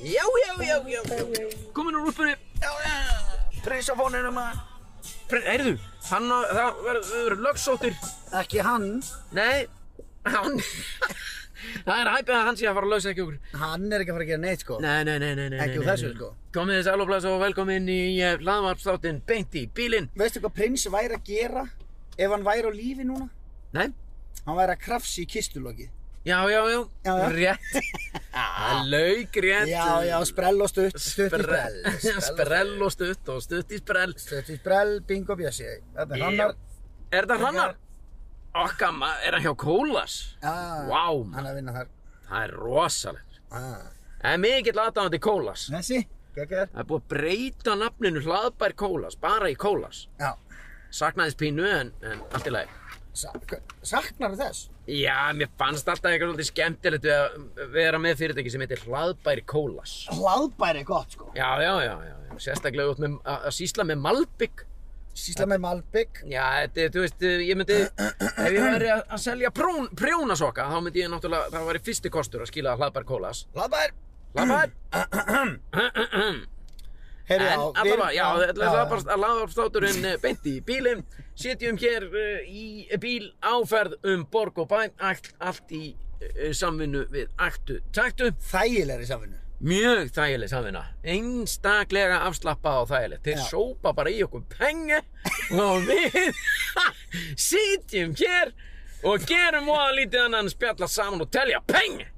Já, já, já, já, já. Komin úr úlpunni já, já. Prisa fóninum að... Heyrðu, hann að það verður lögsóttir Ekki hann. Nei, hann Það er hæpið að hann sé að fara að lausa ekki okkur Hann er ekki að fara að gera neitt, sko. Nei, nei, nei, nei, nei Ekki nei, úr nei, þessu, nei. sko. Komið þið sæloplass og velkomin í hlaðvarpstáttin Beint í bílinn Veistu hvað prins væri að gera ef hann væri á lífi núna? Nei, Hann væri að krafsi í kistulokið. já, já, já, Já, já. rétt Það lauk rétt Já, já, sprell og stutt, stutt í sprell. Sprell og stutt og stutt í sprell Stutt í sprell, bingo bjössi. Þetta er hannar. Er þetta hrannar? Okka, ma- er hann hjá Kólas? Já, Vá, Hann er að vinna þar. það er rosalegt Ah. Það er mikill aðdáðandi Kólas Þessi, geggar. Það er búið að breyta nafninu hlaðbær Kólas, bara í Kólas. Já. Saknaðist pínu en, en allt í lagi. Sa saknar þess? Já, mér fannst alltaf eitthvað svolítið skemmtilegt við að vera með fyrirtæki sem heitir hlaðbær Kólas. Hlaðbæri er gott, sko. Já, já, já, já. já. Sérstaklega út með að að sýsla með Malbygg. Sýsla með Malbygg. Já, þetta, er, þú veist, ég myndi, ef ég væri að að selja prún, prjónasoka, þá myndi ég náttúrulega, það væri fyrsti kostur að skila hlaðbær Kólas. Hlaðbæri. Hlaðbær? Heyrðu, En allavega, já, þetta er bara... bara laðvarpstáturinn beint í bílinn Setjum hér uh, í bíl áferð um borg og bæn allt, allt í uh, samvinnu við aktu taktu Þægilegri samvinnu. Mjög þægileg samvinna Einstaklega afslappað og þægileg Þeir Já. sópa bara í okkur pengi og við sitjum hér og gerum oða lítið annan en spjalla saman og telja pengi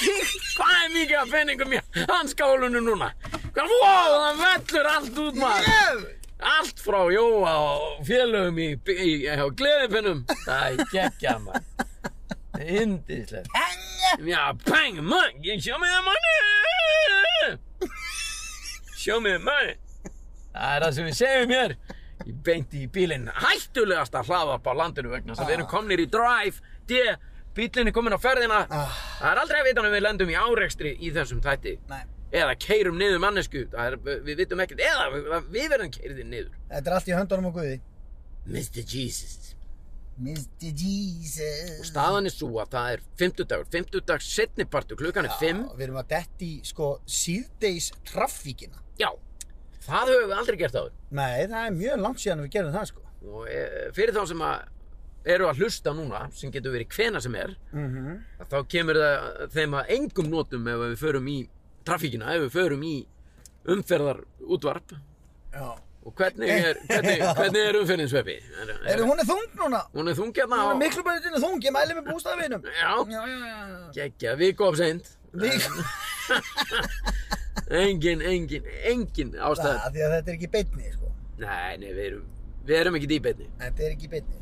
Hvað er mikið af penningum í hanskálunum núna? Hvað, wow, það vellur allt út maður Allt frá Jóa og félögum í, í, á gleðipinnum. Það er geggja maður. Indislegt. Hengi! Já, bang, mung, show me the money! Show me the money! Það er það sem við segjum hér. Ég beinti í bílinn hættulegast að hlaða upp á landinu vegna þess að við erum komnir í drive, D, bílinn er kominn á ferðina. Ah. Það er aldrei að vita hann við lendum í árekstri í þessum þætti. Nei, Eða keirum niður mannesku, það er, við vitum ekkert, eða við- við verðum keirðir niður. þetta er allt í höndunum á Guði. Mr. Jesus. Mr. Jesus. Staðan er svo að það er 50 dagur, 50 dags setnipartu, klukkan Ah. er 5. Við erum að detti í, sko, síðdeis trafíkina. Já, það höfum við aldrei gert áður. Nei, það er mjög langt síðan við gerum það, sko. Og e, fyrir þá sem að eru að hlusta núna, sem getur verið hvena sem er, Mm -hmm. að þá kemur það þeim að engum notum ef við förum í trafíkina, ef við förum í umferðar útvarp. Já. Og hvernig er, hvernig, hvernig er umferðinsveppi? Er, er, Eru hún er þung núna? hún er þungjarna Hún er og... miklu bæðið þung, ég mæli með bústafinum. Já, Já, já, já. geggja, við góðum seint. Líka. Engin, engin, engin ástæð. Það, því að þetta er ekki í beinni, sko. Nei, nei, við erum, við erum ekki dýbeinni. Þetta er ekki í beinni.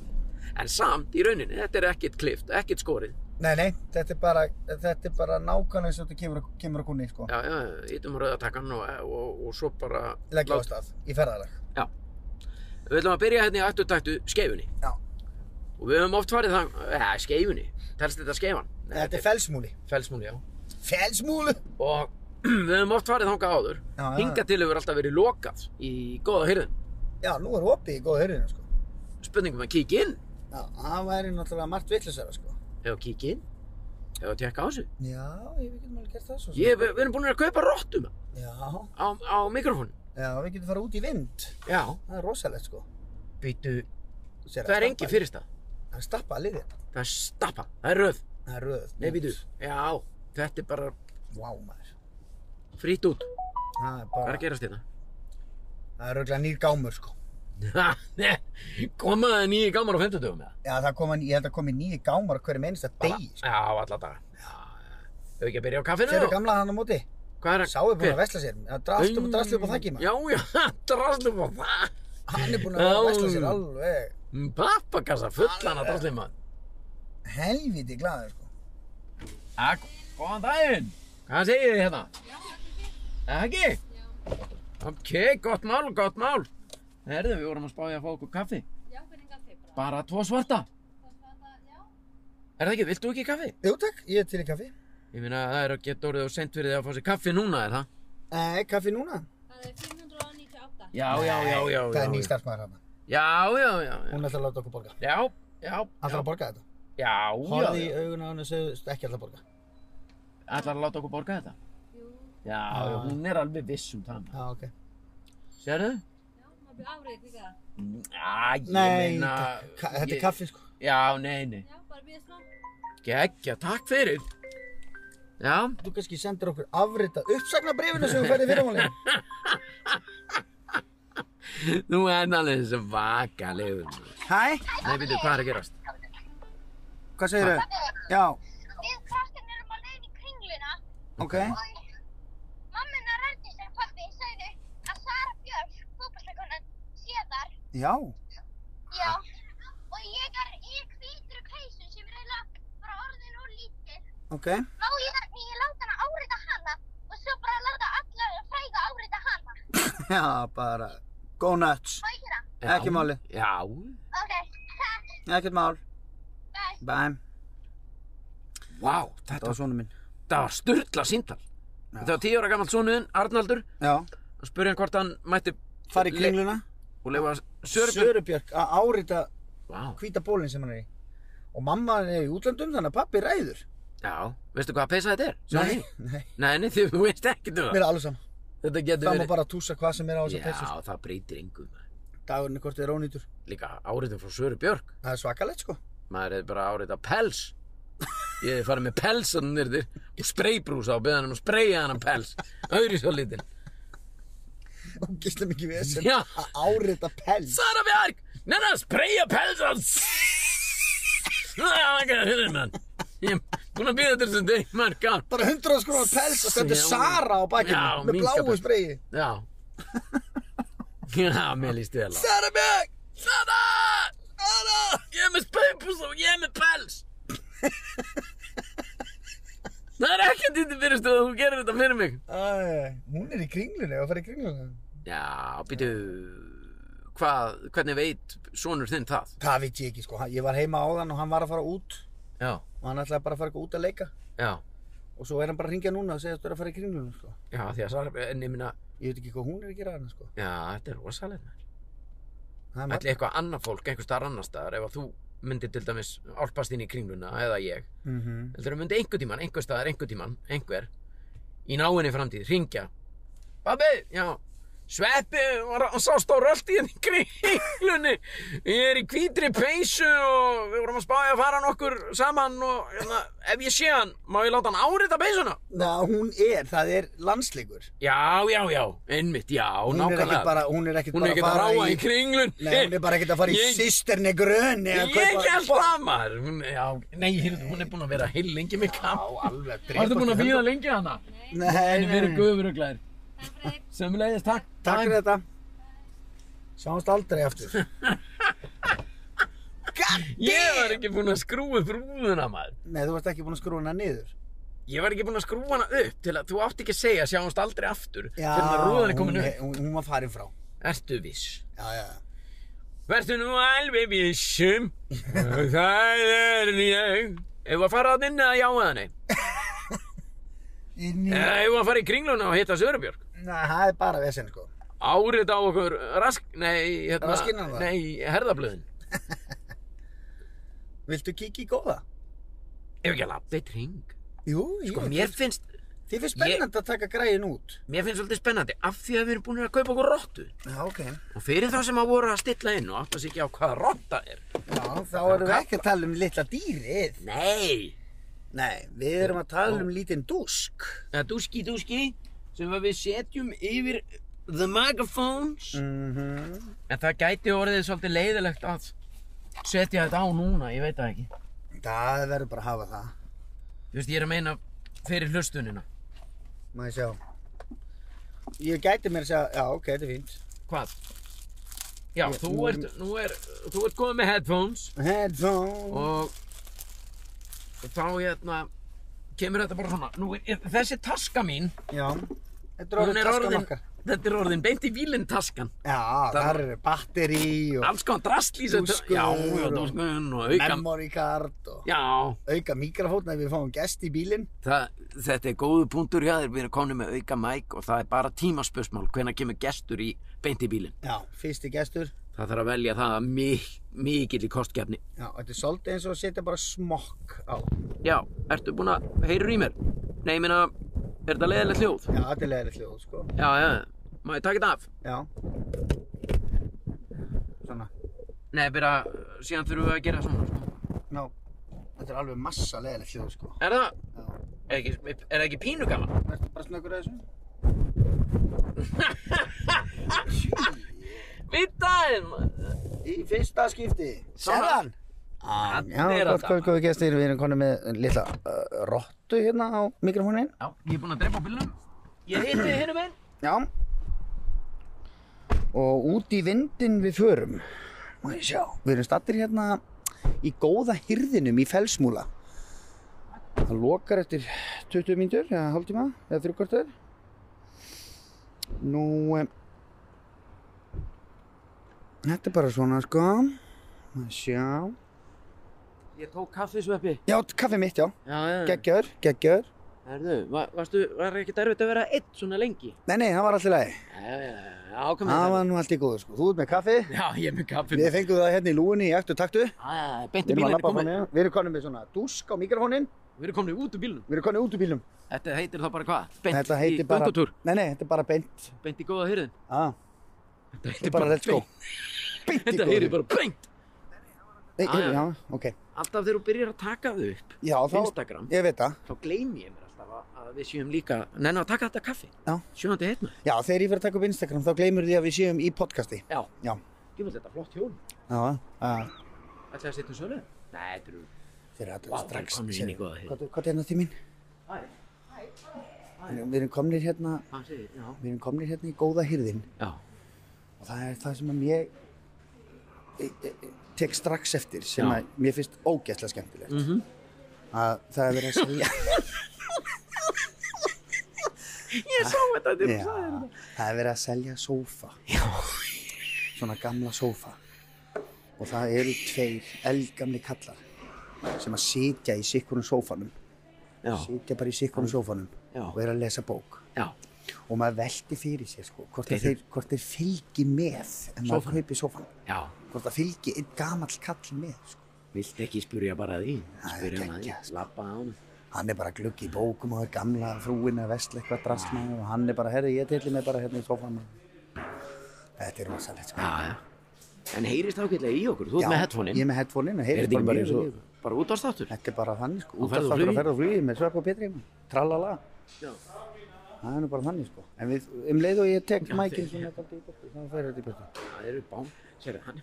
En samt, í rauninni, þetta er ekkert klift, ekkert skorið. Nei, nei, þetta er bara, þetta er bara nákvæmlega eins og þetta kemur, kemur að kunni, sko. Já, já, ítum rauðatakkan og, og, og svo bara... Leggja á stað í ferðarlag. Já. Við ætlum að byrja hérna í afturtaktu skeifunni. Já. Og við höfum oft farið það, eða skeifunni, telst þetta skeifan? Nei, Þetta er felsmúli. felsmúli, já. Felsmúli? Og við höfum oft farið þangað áður. Já, já. Hingað til hefur alltaf verið lokað í góða hyrðin. Já, nú er opið í góða hörðinu, sko. Spurningum að kíkja inn. Já, það væri náttúrulega margt vittlisara, sko. Hefur kíkja inn? Hefur að tekka á þessu? Já, ég við getum alveg gert það svo. sem. Ég, við, við erum búin að kaupa rottum Já, á, á mikrofónu. já, við getum fara út í vind. Já. Það er rosalegt, sko. Býtu, Sér að það er stappa- engin fyrirstað. Það er stappað að liðið. Það er stappa, það er röð. Það er röð. Nei, býtu. Já, þetta er bara Vá, maður. frýtt út. Það er Hvað er bara, að gerast hérna? það er röglega nýr gámur, sko. Ha, nei, Koma það nýju gammar á 50 dögum eða? Já, það kom, ég held að komi nýju gámar á hverjum einasta degi, sko. Já, alla daga. Já, já. Hefur ekki að byrja á kaffinu? Sérðu gamla hann á móti? Hvað er að... Sá er búinn að hver? vesla sér. Það drast upp og drast upp á þakki, maður. Já, já, drast upp á það. Hann er búinn að Já. vesla sér alveg Pappakassa fullan að drast upp á það. helviti glaður, sko. Já, góðan daginn. Hvað segir þið hérna? Eða ekki? Já. Ok, gott mál, gott mál. Herðu, við vorum að spája að fá okkur kaffi. Já, hvernig gaf þið bara? Bara tvo svarta. Það var það, já. Er það ekki? Viltu ekki kaffi? Jú, takk, ég er til í kaffi. Ég meina það er að geta orðið og sent fyrir því að fá sér kaffi núna, er það? Nei, Eh, kaffi núna. Það er 598. Já, já, já, já. Það er já, ný já. starfsmæður hann. Já, já, já. já. Hún ætlar að láta okkur borga. Já, já, Ætlar að borga þetta. já, já, Horði í já. augun á hann og segðu "Stu, ekki ætlar að borga. Ætlar að láta okkur borga þetta? Jú, Já, já, hún er alveg viss um það. Já, ok. Sérðu? Já, maður byrði árið líka. Já, ég Nei, meina... ka- ka- þetta er ég- kaffi sko. Já, nei, nei. Já, bara byrði smá. Gekkja, takk fyrir. Já, Þú kannski sendir okkur afrita uppsagnabrifinu sem við færði fyrirmálinu. nú er hann alveg þessi vakalegur. maður. Hæ, Nei, veitu, hvað er að gerast? hvað segir þau? Já, Við krakkan erum að leiðin í kringluna ok. og mamma hennar rætti sér pappi sagði að Sara Björk, fókbalstakonan, sé þar. Já, Já. Og ég er í hvítri peysu sem er eiginlega bara orðin og lítil. ok. Má ég, ég láta hana árita hana og svo bara láta alla fræða árita hana. Já, bara, go nuts. Má ég gera? Já, Ekki máli. Já, Ok, takk, Ekkert mál. bye. Bæm, vá, þetta þetta var svona minn. þetta var styrla síntal. Þetta var tíu ára gammal sonuðin, Arnaldur, Já, og spurði hann hvort hann mætti fara í kringluna. og leifa Sörbjörn. Sörubjörg að árita Vá, hvíta bólinn sem hann er í. Og mamma er í útlandum þannig að pappi ræður. já, veistu hvað peysa þetta er? Sjá Nei, þig. nei, Nei, nei, þið veist ekki þú mér það. er alveg sama. Þetta getur Það má verið. bara túsa hvað sem er á þessa peysu. Já, það breytir engum. maður. sko. Dagurinn er hvort þið er ónýtur. Líka áriðin frá Sörbjörg. Það er svakalegt sko. maður hefði bara árið á pels ég hefði farið með pelsan nýrðir og spreybrúsa og beðið hann um að spreyja hann pels auðvitað svo lítinn Og gísla mikið við þessum. Já. Að árita pels. Sara Björk, neina spreyja pelsan það var ekki að hurðin mann ég er búin að býða þetta þessum deg mörg án Bara 100 skrónar pels og stendur Já. Sara á Já, bakinu. Með minkapels. bláu spreyi. já já, mér líst vel á Sara Björg! Sara Sara ég er með spreybrúsa og ég er með pels það er ekkert í þetta fyrirstu að þú gerir þetta fyrir mig Æ, hún er í kringlunni, ég var að fara í kringlunni. Já, býtu Hvað, hvernig veit sonur þinn það? Það veit ég ekki sko, ég var heima áðan og hann var að fara út Já, og hann ætlaði bara að fara eitthvað út að leika já, og svo er hann bara að ringja núna og segja að þú er að fara í kringlunni sko. já, því að Sara, en ég minna Ég veit ekki hvað hún er að gera hann sko. Já, þetta er rosalega Það er Ætli eitthvað annað fólk, einhver starf annar staðar ef að þú myndir til dæmis álpast inn í kringluna eða ég, Mm -hmm. heldur þú myndi einhver tíman, einhver staðar, einhver tíman, einhver í náinni framtíð, ringja Babi, já Sveppi, var að sást á röldi hérna í kringlunni Ég er í hvítri peysu og við vorum að spája að fara nokkur saman og hérna, ef ég sé hann, má ég láta hann árita peysuna? Ná, hún er, það er landsleikur. Já, já, já, einmitt, já, Hún er nákvæmlega. ekkert bara, hún er ekkert hún er bara ekkert að ráa í, kringlun. Nei, hún er bara ekkert að fara í Ég- sýsterni gröni að Ég kaupa- ekki alltaf maður. Hún, já, nei, heyrðu, hún er búin að vera heil lengi með Já, kamp. alveg, Varstu drepa búin að okkur. hérna. býða lengi hana? Nei, En við erum nei, guður og glæðir. Takk fyrir. Sem leiðist, takk. takk fyrir þetta. Sjáumst aldrei aftur. Ég var ekki búin að skrúa upp rúðuna maður. Nei, þú varst ekki búin að skrúa hana niður. Ég var ekki búin að skrúa hana upp til að þú átt ekki að segja sjáumst aldrei aftur. Já, Fyrir að rúðan er hún, komin er- upp. hún, hún var farin frá. Ertu viss? Já, já, já. Vertu nú alveg vissum og Það er ég Ef að fara að inn eða já eða nei Inn í... Eða ef að fara í kringluna og hitta Sörubjörg Nei, það er bara vesen, sko. Árið á okkur rask Nei, hérna Raskinnarnar? Nei, herðablöðin Viltu kíkja í góða? Ef ekki að labba eitt ring Jú, jú. Sko, mér finnst Þið finnst spennandi að taka græin út. Mér finnst svolítið spennandi Af því að við erum búin að kaupa okkur rottu Já, ok. Og fyrir þá sem að voru að stilla inn og átta sig ekki á hvaða rotta er Já, þá erum við ekki að tala um litla dýrið. Nei Nei, við erum að tala um lítinn dúsk. Eða dúski, dúski Sem að við setjum yfir The microphones Mhm. Mm. En það gæti orðið svolítið leiðilegt að setja þetta á núna, ég veit það ekki. Það verður bara að hafa það. Þú veist, ég er að meina fyrir hlustunina. Má ég sjá. Ég gæti mér að segja, já, ok, þetta er fínt. Hvað? Já, Ég- þú, nú- ert, nú er, þú ert komið með headphones Headphone. og þá hérna kemur þetta bara svona. Nú er, er þessi taska mín, Já. Þetta er orðið hún er taskan orðin, okkar. þetta er orðin beint í vílinn taskan. Já, þar eru batteri og Alls konar drastlís þetta. Dúskur Já, já, og- dóskun og auka. memory card og Já, auka mikrofón ef við fáum gest í bílinn. það, þetta er góðu punktur hjá þér, við erum komin með auka mæk og það er bara tímaspörsmál, hvenær kemur gestur í beint í bílinn. Já, fyrsti gestur. Það þarf að velja það að mik mikill í kostgefni. Já, þetta er svolítið eins og að setja bara smokk á. Já, ertu búin að heyrir í mér? Nei, ég meina, Er þetta leiðilegt hljóð? Já, þetta er leiðilegt hljóð, sko. Já, já, má ég taka þetta af? Já. Svona. Nei, bara, síðan þurfum við að gera svona, sko. Ná, þetta er alveg massa leiðilegt hljóð, sko. Er það, Já. er ekki, er það ekki pínu gaman? Verður bara snöggur að þessu? Við daginn, maður. Í fyrsta skipti. Svona. Sérðan. Hann Já, er að gott dama. kvöld, góðu gestir. Við erum konið með litla uh, rottu hérna á mikrofónin. Já, ég er búinn að drepa á bílnum. Ég hitti hérna meginn. Já. Og út í vindin við förum. Má ég sjá. Við erum stattir hérna í góða hirðinum í felsmúla. Það lokar eftir 20 mínútur, eða hálftíma, eða þrjúkvartur. Nú, um, þetta er bara svona sko. Má ég sjá. Ég tók kaffisveppi. Já, kaffi mitt, já. Já, já. Geggjör, geggjör. Herðu, var, varstu, var ekki erfitt að vera einn svona lengi? Nei, nei, það var alltaf lægi. Já, já, já, já, komið Það var nú allt í góðu sko. Þú ert með kaffi. Já, ég er með kaffi. Við fengum það hérna í lúinni í ektu taktu. Já, já, já, Við beint í erum að bílinn labba komið. þannig. Við erum konum með svona dúsk á mikrofónin. Við erum komin út úr bílnum. Við erum konum út úr bílum. Þetta heitir þá bara hvað? Beint Þetta heitir í bara... göngutúr. Nei, nei, þetta er bara beint. Beint í góða hyrðin. Ah, Þetta þetta er bara let's go. beint. Beint í Þetta góðu. heyrir bara beint. Nei, Ah, heyrðu, já. já, ok. Alltaf þegar þú byrjar að taka þau upp, Já, þá... Instagram, Ég veit það. þá gleymi ég mér alltaf að- að við séum líka, neina að taka þetta kaffi. Já. Sjöndi heitna. Já, þegar ég fyrir að taka upp Instagram þá gleymur því að við séum í podcasti. Já. Já. Ég vil þetta flott hjól. Já, Ah. já. Ætlaði að setja um sölu? Nei, þetta eru... Þeir eru Vá, alltaf strax. komin inn í sérðu. góða hyrðin. Hvað hvað er hérna til mín? Hæ, Við erum komnir hérna, hann segir, já. við erum komnir hérna í góða hirðin. Já. Og það er það sem að ég, ég, ég, ég e, tek strax eftir sem Já. að mér finnst ógæslega skemmtilegt Mhm. að það er verið að segja Ég sá þetta þegar Já, það er verið að selja sófa Já Svona gamla sófa Og það eru tveir eldgamli kallar sem að sitja í sikkurum sófanum Já, sitja bara í sikkurum sófanum Já. og eru að lesa bók já. og maður velti fyrir sér sko hvort, að Þeir- þeir, hvort þeir fylgi með en maður Sófanum. kaupi sófan Já. hvort það fylgi einn gamall kall með sko. Vilt ekki spurja bara að því? Það er Spurja hann að því. geggjað, sko. Lappa á hann. hann er bara að glugga í bókum og það er gamla frúin að vestla eitthvað drastna og hann er bara, herri, ég tilli mig bara hérna í sófanum þetta er rosalegt sko. Já, já. En heyrist ákveðlega í okkur. Þú ert með headphone-in. Ég er með headphone-in og Er heyrist þetta ekki mjög bara vel eins í og, þessu. bara útvarstáttur? Þetta er bara þannig sko, Á út af ferð og þáttur flugi. að ferða og flugi með svepp og betri Tralala, Já. það er nú bara þannig sko En við, um leið og ég tek Já, mækinn þeir- svona þetta í börtu, þá fer þetta í börtu Það eru bán. Sérðu, hann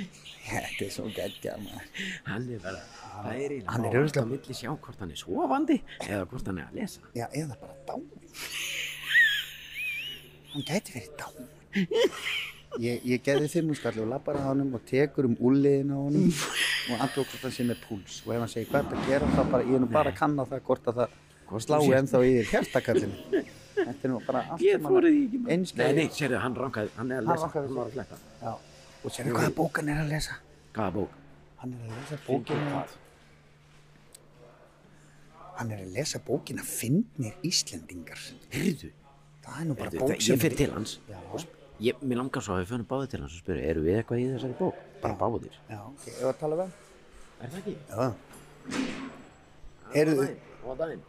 er, Þetta er svo geggja maður hann er bara, það er eiginlega. Hann er má örugglega- allt á milli sjá hvort hann er sofandi eða hvort hann er að lesa. Já, eða bara dáin Hann gæti verið dáin Ég, ég geði fimmúskalli og lappar að honum og tekur um úliðin á honum og andjók hvort það sé með púls og ef hann segir hvað er að gera þá bara, ég er nú bara að kanna það hvort að það Hvort þú slái sért- ennþá í þér hjertakallinu Þetta er nú bara allt Ég saman- þórið ekki maður. Einskæri. Nei, nei, sérðu, hann rankaði, hann er að Hann lesa. rankaði við var að fletta. Já, og sérðu hvaða bók hann er að lesa? Hvaða bók? Hann er að lesa bókina Hvað? Hann er að lesa bókina Fyndnir Íslendingar Heyrðu, Það er nú bara heyrðu, bók það- sem ég fyrir til hans. Já, Ég, mér langar svo að við fönum báðið til hans og spyrja, eru við eitthvað í þessari bók? Bara báðir. já, ok, ef að tala við hann? Er það ekki? Já Heyrðu, Góðan daginn.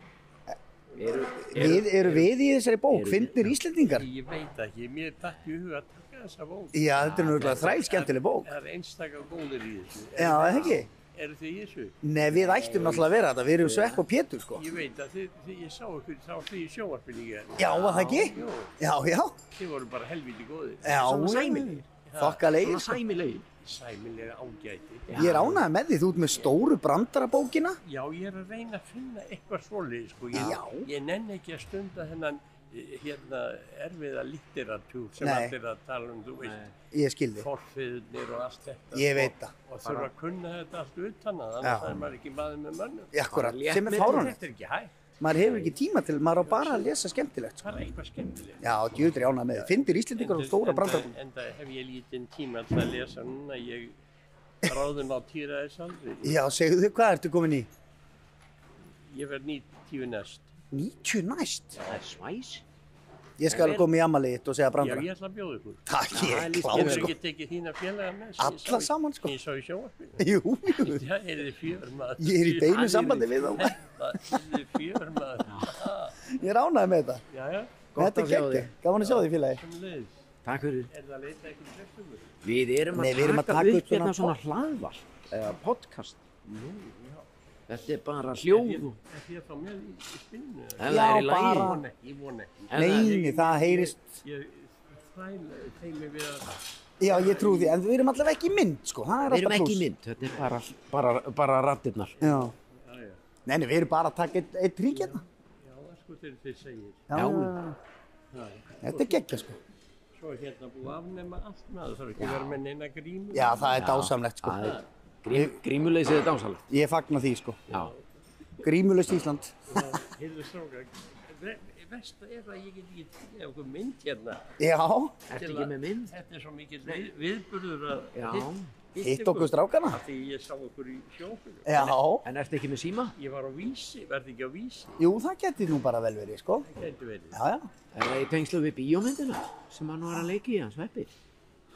Eru, við, eru við í þessari bók, Fyndnir Íslendingar? Ég veit ekki, mér datt í hug að taka þessa bók. Já, þetta er náttúrulega þræl skemmtileg bók Það er einstaka góðir í þessu. Já, eða ekki? Eru þið í þessu? Nei, við ættum náttúrulega að vera þetta, við erum Svepp og Pétur sko Ég veit að þið, þið ég sá ykkur, þá var þið í sjóarfinni ég. Já, var það ekki? Jó, Já, já, þið voru bara helviti góðir. já Svona sæmilegir. Þokkalegir sko sæmilegi. Sæmilega ágæti. Ég er ánægð með því, þú ert með stóru brandarabókina Já, ég er að reyna að finna eitthvað svoleið, sko. Ég, Já. Ég nenn ekki að stunda þennan eh, hérna erfiða litteratúr sem Nei. allir að tala um, þú veist, Ég skildi, forfiðunir og allt þetta. Ég sko. veit það. Og þurfa að kunna þetta allt utan að, annars Já. er maður ekki maður með mönnum. akkurat, sem er léttmeti. fáránlegt Þetta er ekki hægt, maður hefur ekki tíma til, maður á bara að lesa skemmtilegt sko. það er eitthvað skemmtilegt. Já, djúður ég ánað með þið, fyndir Íslendingar og stóra brandar En það hef ég lítinn tíma til að lesa núna, ég ráðum á týra þess aldrei. Já, segðu þau hvað ertu komin í? Ég verð nýtt tíu næst. 90 næst Það er svæs. Ég skal En- koma í amalið þitt og segja Já, brandara. ég ætla að bjóða ykkur. Takk, ég er klár, Ég hefur sko. ekki tekið þína félaga með sem ég sá Alla í- saman, sko. Ég sá í sjóarpinu. Jú, jú. Já, er þið fjör maður. Ég er í beinu sambandi við þá. þá. Er þið fjör maður. Ég er ánægð með þetta. Já, já, Gott Þetta er að sjá kekki. Gaman að sjá því félagi. sem leiðis. Takk fyrir. Er það að leita eitthvað flestum? Við erum að, Nei, við erum að taka, taka upp upp hérna svona svona hlaðvarp eða podcast. Þetta er bara hljóð og Er þið þá með í, í spinnu? ef það er í Já, lagi. bara- Ég von ekki, ég von ekki. ef það er- Nei, það heyrist. Ég þræl teimi við að... Já, ég trú því. En við erum allavega ekki í mynd, sko. Það er Við erum alltaf ekki í pluss. mynd, þetta er bara, bara, bara rattirnar. Já. Já, já, Nei, nei, við erum bara að taka eitt, eitt rík hérna. já, það er sko þegar þið segir. Já. Já, Þetta er geggja, sko. svo er hérna búið að afnema allt maður. Það er ekki verið með neina grímu. Já, það er dásamlegt, sko. Það er grím, grímuleysið er dásalegt. Ég fagna því, sko. Já. Grímulust Ísland. Hildur strákar, ve- versta er að ég get ekki tekið okkur mynd hérna. Já, Ertu ekki með mynd? Þetta er svo mikill við, viðburður að Já. hitt okkur strákana. Af því ég sá okkur í sjókunum. Já. En ertu ekki með síma? Ég var á vísi, verði ekki á vísi, Jú, það geti nú bara vel verið, sko. gæti verið. Já, já. Er það í tengslu við bíómyndina sem hann var að leika í hans veppi?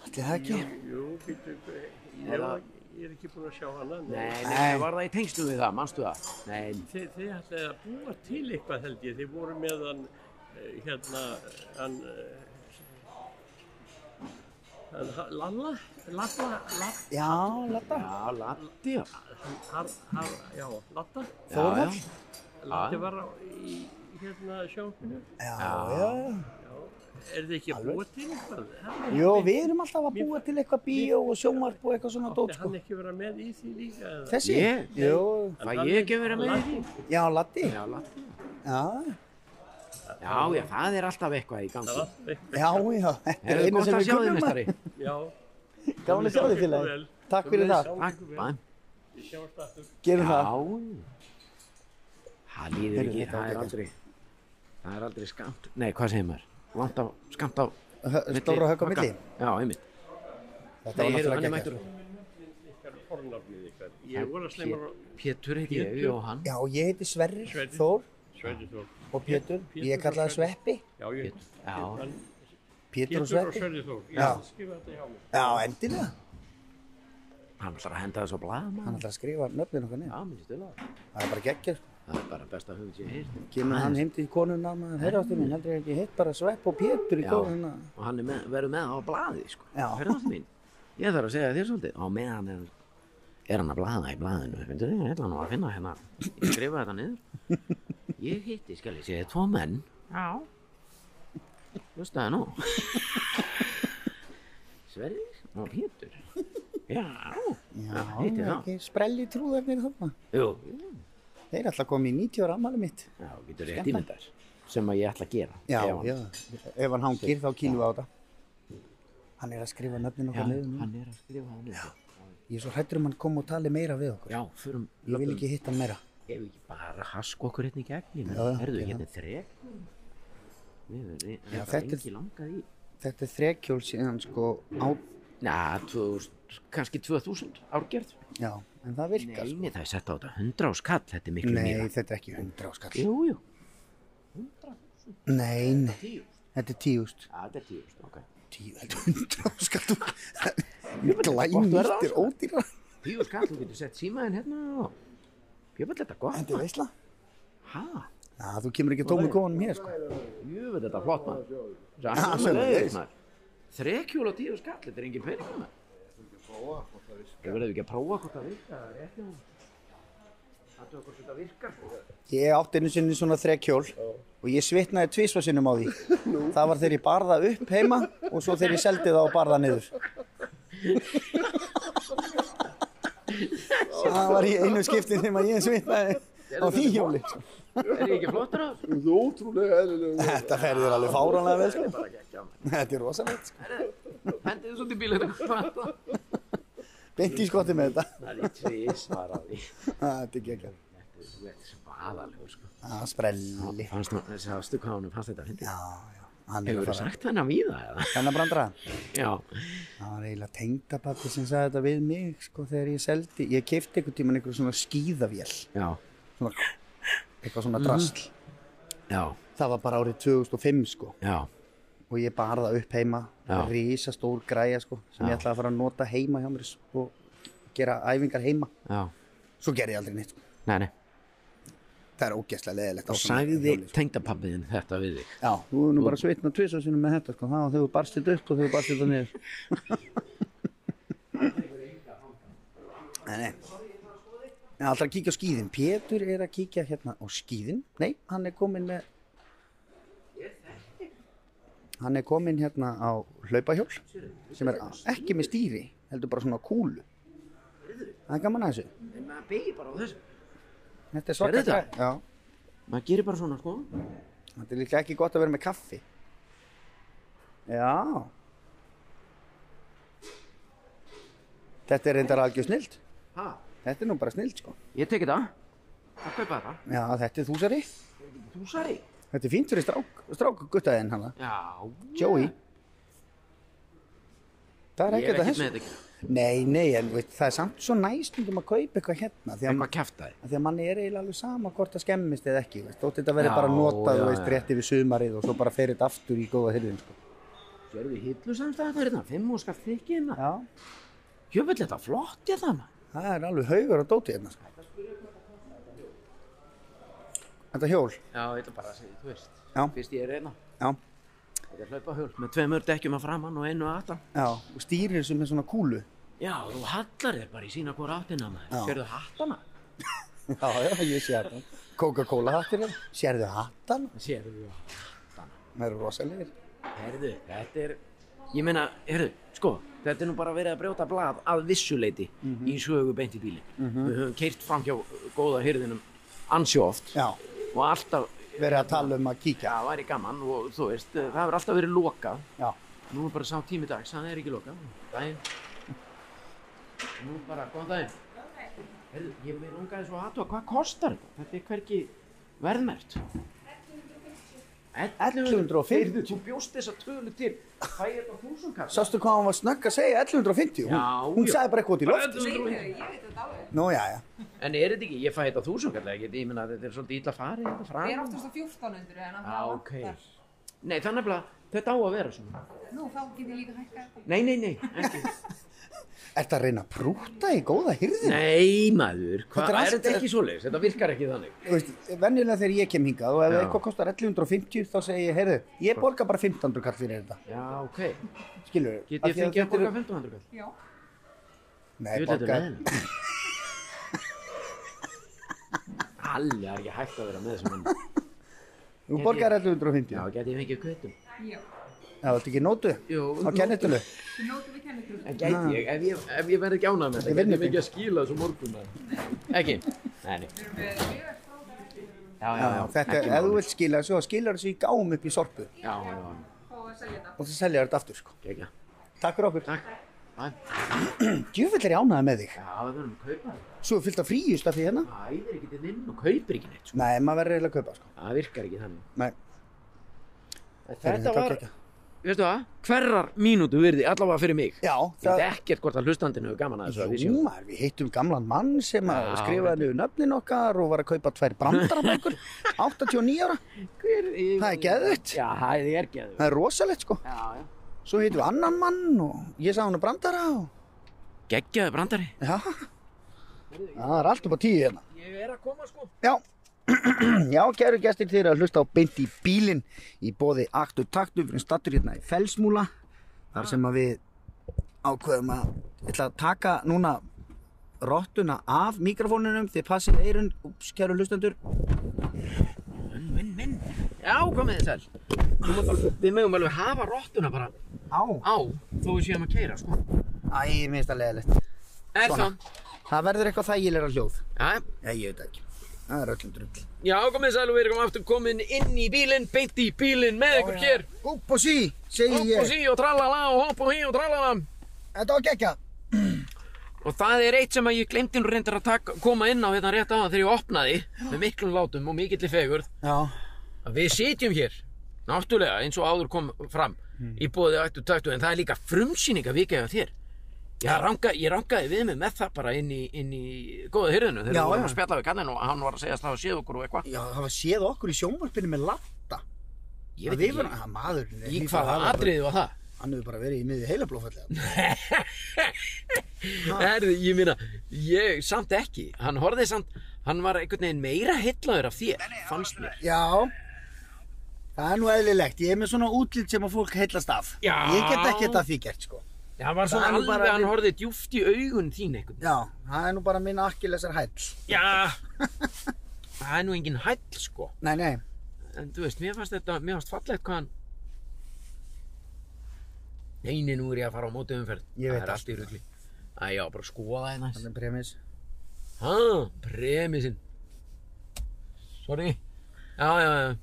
Þetta er það ekki. Jú, býttu, ég, Eða- ég er ekki búinn að sjá hana. Nei, nei, Nei. var það í tengslu við það, manstu það? Nei, Þi, þið ætlaði að búa til eitthvað held ég. Þið voru með hann, eh, hérna, hann, eh, hann ha- Lalla, Lalla, Lalla, Já, ladda. já, Latti, já. har, har, já, Latta. Þórðar. Já, Latti var á, í, hérna, sjókunum. Já, já, já. Já, er þið ekki að búa til eitthvað? Ha? Jú, við erum alltaf að búa til eitthvað bíó og sjónvarp og eitthvað svona dót, Átti sko. hann ekki vera með í því líka? eða? Þessi? Ég? Jú. já. Fæ ég ekki að vera með í því? Já, laddi. Já, Latti. Já, Já, já, það er alltaf eitthvað í gangi. Það var allt veikt. já, já. Þetta Er er það einu gott sem að við sjá þig, kunnum að. mestari? Já, Gáðan að sjá þig, félagi. Vel. Takk fyrir það. Takk, bæm. ég sjáumst aftur. Gerum það. Já. Það líður Heyrðu, ekki, þetta það var er aldrei, það er aldrei skamt. Nei, hvað segir maður? Langt á, skamt á. Hö- milli Stóra högg á högga. milli. Já, einmitt. Þetta var Nei, heyrðu, hann náttúrulega er geggjað. mættur. Ykkar fornafnið ykkar. Ég voru að sleima á Pétur heiti ég, Pétur. Jóhann. Já, ég heiti Sverrir, Sverrir. Þór Sverðithór. og Pétur. Pétur Ég er og kallaði Sverrir. Sveppi. Já, ég. Já. Hann- Pétur og Pétur og Sveppi. Sverðithór. Ég Já. ætla að skrifa þetta hjá mig. Já, endilega. Hann ætlar að henda þessu á blaða, maður. Hann ætlaði að skrifa nöfnin okkar niður. Já, mér stila það. Það er bara geggjur. Það er bara besta hugum sem ég heilt. Kemur hann heim til konuna maður, herra ástu mín, heldur ég ekki hitt bara Svepp og Pétur í Já. góð hérna. Og hann er með, verður með það á blaði, sko. Já. Hörðast mín. Ég þarf að segja þér svolítið. Á meðan er, er hann að blaða í blaðinu. Findu þið, ég ætla nú að finna hérna. Ég skrifa þetta niður. Ég hitti, skal ég segja, tvo menn. Já. Hlustaði nú. Sverrir og Pétur. Já. Já, hitti er þá. ekki sprelli trúðarnir þarna. Jú. Þeir er alltaf komið í 90 ára ammali mitt. Já, getur rétt ímyndar. Sem að ég ætla að gera. Já, Ef hann- já. Ef hann hangir þá kýlum við á þetta. Hann er að skrifa nöfnin Já, okkar niður. núna. hann er að skrifa það niður. Ég er svo hrættur um hann kom og tali meira við okkur. Já, förum Ég vil ekki hitta hann meira. Ef ekki bara hask okkur hérna í gegn, Já, ég meina, já, herðu, já. hérna er þrek. Við erum Já, þetta þetta er- engi langað í. Þetta er þrekjól síðan sko á... Næ, 2000, kannski 2000 árgerð. Já, en það virkar Nei, sko. nei, það er sett á þetta 100 á skall, þetta er miklu Nei, meira. þetta er ekki 100 áskall. Jú, jú. 100, Nei, nei, 10. þetta er tíust. Já, þetta er 10, ok. Tíu, þetta er 100 áskall. Gott verð á Glænýttir áskall. ódýra. 10 skall, þú getur sett símaðinn hérna og... Ég veit þetta er gott, Þetta er maður. veisla. Hæ? Já, þú kemur ekki tómur kofanum hér sko. Jú, veit þetta er flott, maður. Það Já, er sömuleiðis. sömulegis, maður. Þrekjúl á 10 skall, þetta er engin pening, maður. Við verðum ekki að prófa hvort það virkar. Það er rétt hjá honum. Athuga hvort þetta virkar. Ég átti einu sinni svona þrekjól og ég svitnaði tvisvar sinnum á því. Það var þegar ég barða upp heima og svo þegar ég seldi það og barða niður. Það var í einu skiptin þegar ég svitnaði á því hjóli. sko. Er ég ekki flottur á þessu? Þú ótrúlega eðlilega Þetta ferðir alveg fáránlega vel sko. Bara geggja á mig. Þetta er rosalegt sko. Hendið þessu út í bílinu. Beint í skotti með þetta. Það er tvísvar á því. Þetta er geggjað. Þetta er- Þú ert svaðalegur sko. Það sprelli. Fannst nú, þessi að stu hvað honum fannst þetta að Já, fyndi. já. Hann er að Hefur þú fara. sagt hennar víða eða? Þannig að brandra. Já. Það var eiginlega tengdapappi sem sagði þetta við mig sko þegar ég seldi. Ég kefti einhvern tíman einhver svona skíðavél. Já. Mhm. svona, eitthvað svona drasl já, það var bara árið 2005 sko já, og ég bar það upp heima Já. risastór græja sko sem Já. ég ætlaði að fara að nota heima hjá mér s- og gera æfingar heima já, svo gerði ég aldrei neitt sko. nei, nei. það er ógeðslega leðilegt Og sagði tengdapappiðin þetta við þig. já, þú er nú bara svitna tvisar sinum með þetta sko það var þegar þú barst þetta upp og þegar þú barst þetta niður nei, nei Ég ætla að kíkja á skíðin. Pétur er að kíkja hérna á skíðin. Nei, hann er kominn með... Hann er kominn hérna á hlaupahjól sem er ekki með stýri, heldur bara svona kúlu. Það er gaman að þessu. En maður byggir bara á þessu. Þetta er svaka Sérðu þetta? græ- Já. Maður gerir bara svona, sko. Þetta er líka ekki gott að vera með kaffi. Já. Þetta er reyndar algjör snilt. Ha, Þetta er nú bara snilt, sko. ég teki það. Það kaupa það. Já, þetta er þúsari. Þú sari. Þetta er fínt fyrir strák, strákguttaðinn hana. Já. Joey Það er ekkert Ég er að ekkert þessu með þetta ekki. Nei, nei, en veit, það er samt svo næstundum að kaupa eitthvað hérna því að, Eitthvað kæftæði. að því að manni er eiginlega alveg sama hvort það skemmist eða ekki veist, þótt þetta verður Já, bara notað já, þú veist, já. rétt yfir sumarið og svo bara fer þetta aftur í góða hyrðin sko. Gerðu hillu samstæða þetta hérna, fimm og skall þykki hérna. Já, Jöfnvel þetta flott ég þannig. það er alveg haugur að dóti hérna sko. Þetta hjól Já, ég ætla bara að segja, þú veist. Já. Fyrst ég er hérna. reyna. Já, Þetta er hlaupahjól með tveimur dekkjum að framann og einu að aftan. já, og stýrir þessu með svona kúlu Já, þú hallar þér bara í sína hvora áttina Já. maður. Sérðu hattana? Já, já, ég sé þetta Coca-Cola hattir hérna, sérðu hattan Sérðu þú. Það eru rosalegir Herðu, þetta er, ég meina, herðu, sko, þetta er nú bara verið að brjóta blað að vissuleiti í sögu beint í bílinn. Við höfum keirt framhjá góða hyrðinum ansi oft Já, og alltaf, verið að tala um að kíkja það væri gaman og þú veist, eh, það hefur alltaf verið lokað. Já, Nú er bara sá tími dags, hann er ekki lokað. Dæin. Nú bara, góðan daginn. Herðu, ég meina ungaði svo aðtúa, hvað kostar þetta? Þetta er hvergi verðmert. 1150. Þú bjóst þessa tölu til, fæ ég þetta húsum kalla? Sástu hvað hún var snögg að segja 1150? Hún, Já, hún já. sagði bara eitthvað út í loft. En Nú, já, já. er þetta ekki, ég fæ þetta þúsum kalla, ég, ég meina þetta er svolítið illa farið, þetta Ég er fram. oftast á 1400 en að Já, það Ah, ok. Nei, þannig að þetta á að vera svona. Nú, þá get ég líka hækkað. Nei, nei, nei, ekki. Ertu að reyna að prúta í góða hirðin? Nei, maður, Þetta hvað, er er allt- þetta ekki svoleiðis? Þetta virkar ekki þannig. Þú veist, venjulega þegar ég kem hingað og ef Já. eitthvað kostar 1150 þá segi ég, heyrðu, ég borga bara 1500 kall fyrir þetta. Já, ok. Skilur þau? Get ég fengið að borga 1500 kall? Já. Nei, Ég veit þetta borga. er neðan. Allir er ekki hægt að vera með þessum mann. Þú Get borgar ég- 1150. Já, Já, get ég fengið kvittum? Já. þetta er ekki nótu? Jú, Á kennitölu? Þú nótum við kennitölu. En get ég, ef ég, ef ég verð ekki ánað Þetta er með þetta, get ég vinnutími. mikið að skila þessu morgun? eða? Ekki? Nei, nei. Við erum með mjög Já, já, Já, já. þetta er, ef ekki þú máli. vilt skila þessu, þá skilar þessu í gám upp í sorpu Já, já, já. fá að selja þetta. og það seljar þetta aftur, sko. Gekja. Takk fyrir okkur. Takk. Bæ. Djúvill er ég ánægði með þig. Já, við verðum að kaupa það. um Svo er fyllt af fríust af því hérna. Það æðir ekki til inn og kaupir ekki neitt, sko. Nei, maður verður eiginlega að kaupa, sko. Það virkar ekki þannig. Nei, Þetta var var, geggjað. veistu það, hverrar mínútu virði, allavega fyrir mig. Já, Ég veit ekkert hvort að hlustandinu hefur gaman að þessu að við Jú, séum. maður, við hittum gamlan mann sem að Já, skrifaði reyndar. niður nöfnin okkar og var að kaupa tvær brandarabækur 89 ára, Hver, ég, Það er geðveikt. Já, það er geðvitt. það er rosalegt sko Já, já. Svo hittum við annan mann og ég sagði hann brandara og Geggjaði brandari. já Það er allt upp á tíu hérna Ég er að koma sko. Já, já, kæru gestir þeir eru að hlusta á beint í bílinn í boði aktu taktu fyrir stattur hérna í Fellsmúla þar sem að við ákveðum að ég ætla að taka núna rottuna af mikrofónunum þið passið eirun, úps, kæru hlustendur Vinn, vinn, vinn. Já, komið þið sæl. Þú mátt alveg- Við mögum alveg hafa rottuna bara Á, á þó við séum að keira sko. æ, mér finnst það leðilegt Er Svona. það? Það verður eitthvað þægilegra hljóð Já, Já, ég veit það ekki Það er öllum drull já, komið þið sæl og við erum aftur komin inn í bílinn, beint í bílinn með ykkur hér. Upp og sí, segi Hopp ég og sí og tralala og hopp og hí og tralala. Þetta var gekkja Og það er eitt sem að ég glemdi nú reyndar að taka, koma inn á hérna rétt á þegar ég opnaði með miklum látum og mikilli fegurð Já, að við sitjum hér Hmm. náttúrulega eins og áður kom fram í bóði ættu taktu en það er líka frumsýninga vikið af þér Já, ranga, ég rangaði við mig með það bara inn í, inn í góða hyrðinu þegar Já, við vorum já. að spjalla við kallinn og hann var að segja að það var séð okkur og eitthvað. Já, það var séð okkur í sjónvarpinu með latta. Ég veit Við ekki vorum- að maðurinn er í líka- hvaða hann var bara- atriði var það. Hann hefur bara verið í miði heila blófallega. Erði, ég meina, ég samt ekki. Hann horfði samt, hann var einhvern veginn meira hillaður af þér, fannst mér. Já, það er nú eðlilegt. Ég er með svona útlýtt sem að fólk heillast af. Já. Ég get ekki þetta að því gert, sko. Það var Það svona er nú alveg, bara- hann horfði djúft í augun þín einhvern veginn. Já, það er nú bara minn akkilesar hæll. Já. Það er nú engin hæll, sko. Nei, nei. En þú veist, mér fannst þetta, mér fannst fallegt hvað hann... Neini, nú er ég að fara á móti umferð. Ég veit það. Það er allt allt í um rugli. Æ, já, bara að skoða hérna. það næst. Þannig premis. Hæ, premisinn. Sorry. Já, já, já.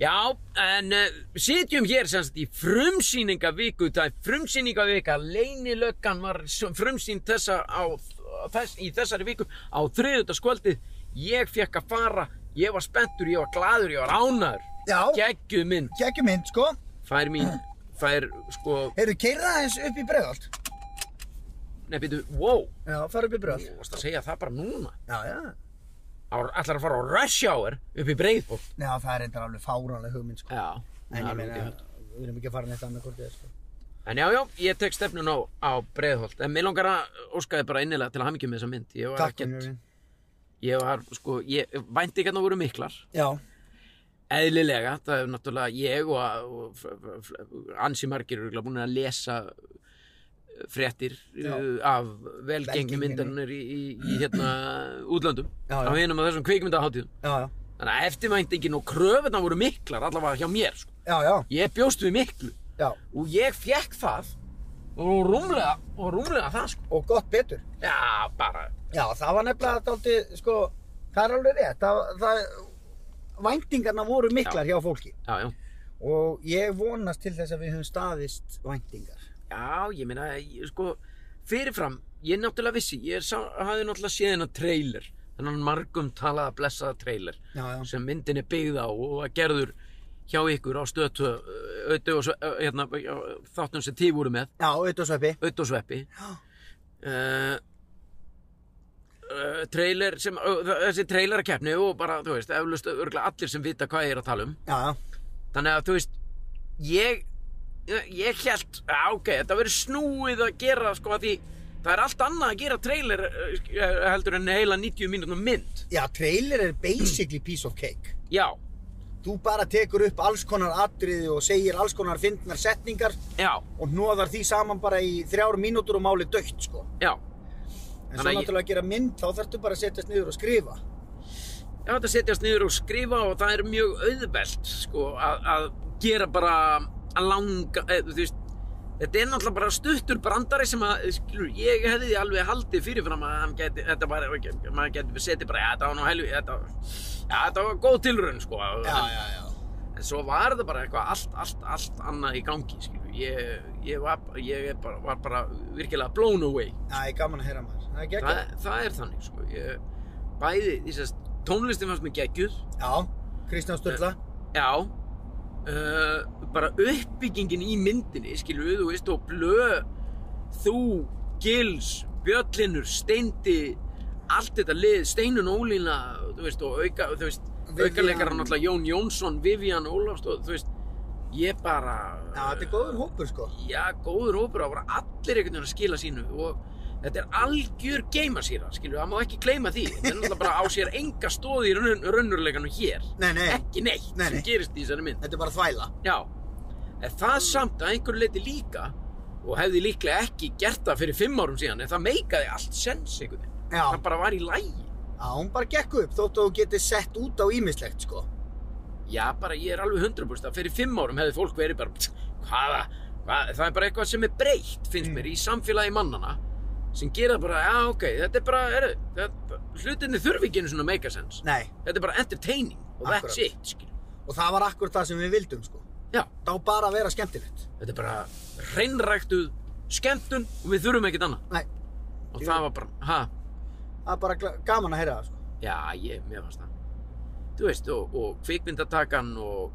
Já, en uh, sitjum hér semst í frumsýningavíku, það er frumsýningavika, leynilöggan var s- frumsýnd þessa á, á þess, í þessari viku á þriðutaskvöldið, ég fekk að fara, ég var spenntur, ég var gladur, ég var ánæður, Já, geggjuð mynd, gekkjum mynd, sko. fær mín, fær sko, Heyrðu, keyrða aðeins upp í bregðalt. nefnir, wow, Já, fara upp í bregðalt. þú varst að segja það bara núna, Já, já. Á- ætlar að fara á rush hour upp í Breiðholt. Já, það er eitthvað alveg fáránlega hugmynd, sko. Já, En það er ég út í meina, hött. við erum ekki að fara neitt annað hvort eða, sko. En já, já, ég tek stefnun á, á breiðholt En mér langar að óskaði bara innilega til að hamingju með þessa mynd Ég var Takk, ekkert- Unnur mín. Ég var, sko, ég vænti ekki að það voru miklar Já, Eðlilega, það er náttúrulega ég og, og f- f- f- ansi margir eru búin að lesa eh, fréttir Já. uh, af velgengni Velgengninni. myndarinnar í, í, í hérna útlöndum Já, já. á hinum að þessum kvikmyndaháttíðum já, já. Þannig að eftirvæntingin og kröfuna voru miklar allavega hjá mér, sko. Já, já, Ég bjóst við miklu já. og ég fekk það og rúmlega, og rúmlega það sko. Og gott betur. Já, bara, Já, það var nefnilega dálítið, sko, það er alveg rétt. Það, það, væntingarna voru miklar hjá fólki. já, já. Og ég vonast til þess að við höfum staðist væntingar. Já, ég meina, ég, sko, fyrirfram, ég náttúrulega vissi, ég sá, hafði náttúrulega séð hennar trailer, þennan margum talaða blessaða trailer Já, já. sem myndin er byggð á og var gerður hjá ykkur á stötu, auðvitað og Sve- ö, hérna, ö, þáttum sem tíð voru með, Já, auðvitað sveppi. auðvitað og sveppi. Uh, uh, trailer sem, uh, þessi trailerakefni og bara, þú veist, eflust örgulega allir sem vita hvað ég er að tala um. Já, já. Þannig að þú veist, ég, ég held, já ok, þetta verður snúið að gera sko að því það er allt annað að gera trailer eh, sk- eh, heldur en heila 90 mínútur mynd. Já, trailer er basically piece of cake. Já, Þú bara tekur upp alls konar atriði og segir alls konar fyndnar setningar já, og hnoðar því saman bara í þrjár mínútur og máli dögt, sko. já. En Þannig að svo ég- náttúrulega að gera mynd, þá þarftu bara að setjast niður og skrifa. Já, þetta setjast niður og skrifa og það er mjög auðvelt sko að, að gera bara að langa, eh, þú veist, þetta er náttúrulega bara stuttur brandari sem að, skilur, ég hefði alveg haldið fyrirfram að hann geti, þetta var, maður geti setið bara, já, þetta var nú helvi, þetta, já, þetta var góð tilraun sko. Já, já, já. En svo var það bara eitthvað allt, allt, allt annað í gangi, skilju. Ég, ég, var, ég er bara, var bara virkilega blown away. Já, ég er gaman að heyra maður. Það er geggjað. Það, það er þannig, sko. Ég, bæði, því að tónlistin fannst mér geggjuð, Já, Kristján Sturla. já. Uh, bara uppbyggingin í myndinni, skilju, þú veist, og blö, þú, gils, bjöllinur, steindi, allt þetta lið, steinun ólína, þú veist, og auka, þú veist, Vivian. aukaleikar náttúrulega Jón Jónsson, Vivian Ólafstóð, þú veist, ég bara... Já, þetta er góður hópur, sko. Já, góður hópur að voru allir einhvern veginn að skila sínu og þetta er algjör geimasýra, skilju, það má ekki gleyma því. Þetta er náttúrulega bara á sér enga stóð í raun, raunurleikanum hér. Nei, nei, Ekki neitt Nei, nei. sem gerist í þessari mynd. þetta er bara þvæla. Já, en það samt að einhverju leiti líka og hefði líklega ekki gert það fyrir fimm árum síðan en það meikaði allt sens einhvern veginn. Já, Það bara var í lægi. já, hún bara gekk upp þótt að þú getið sett út á ímislegt, sko. Já, bara ég er alveg 100% að fyrir fimm árum hefði fólk verið bara, "Tsk, hvaða, hvað, það er bara eitthvað sem er breytt, Mm. finnst mér, í samfélagi mannana sem gera bara, já, ok, þetta er bara, er, þetta, hlutinni þurfi ekki einu svona megasens. Nei, Þetta er bara entertaining og that's Akkurat. it, skil. og það var akkur það sem við vildum, sko. Já, Það var bara að vera skemmtilegt. þetta er bara hreinræktuð skemmtun og við þurfum ekkert annað. Nei, Og Jú. það var bara, ha, það er bara gla- gaman að heyra það, sko. já, ég, mér fannst það. Þú veist, og, og kvikmyndatakan og,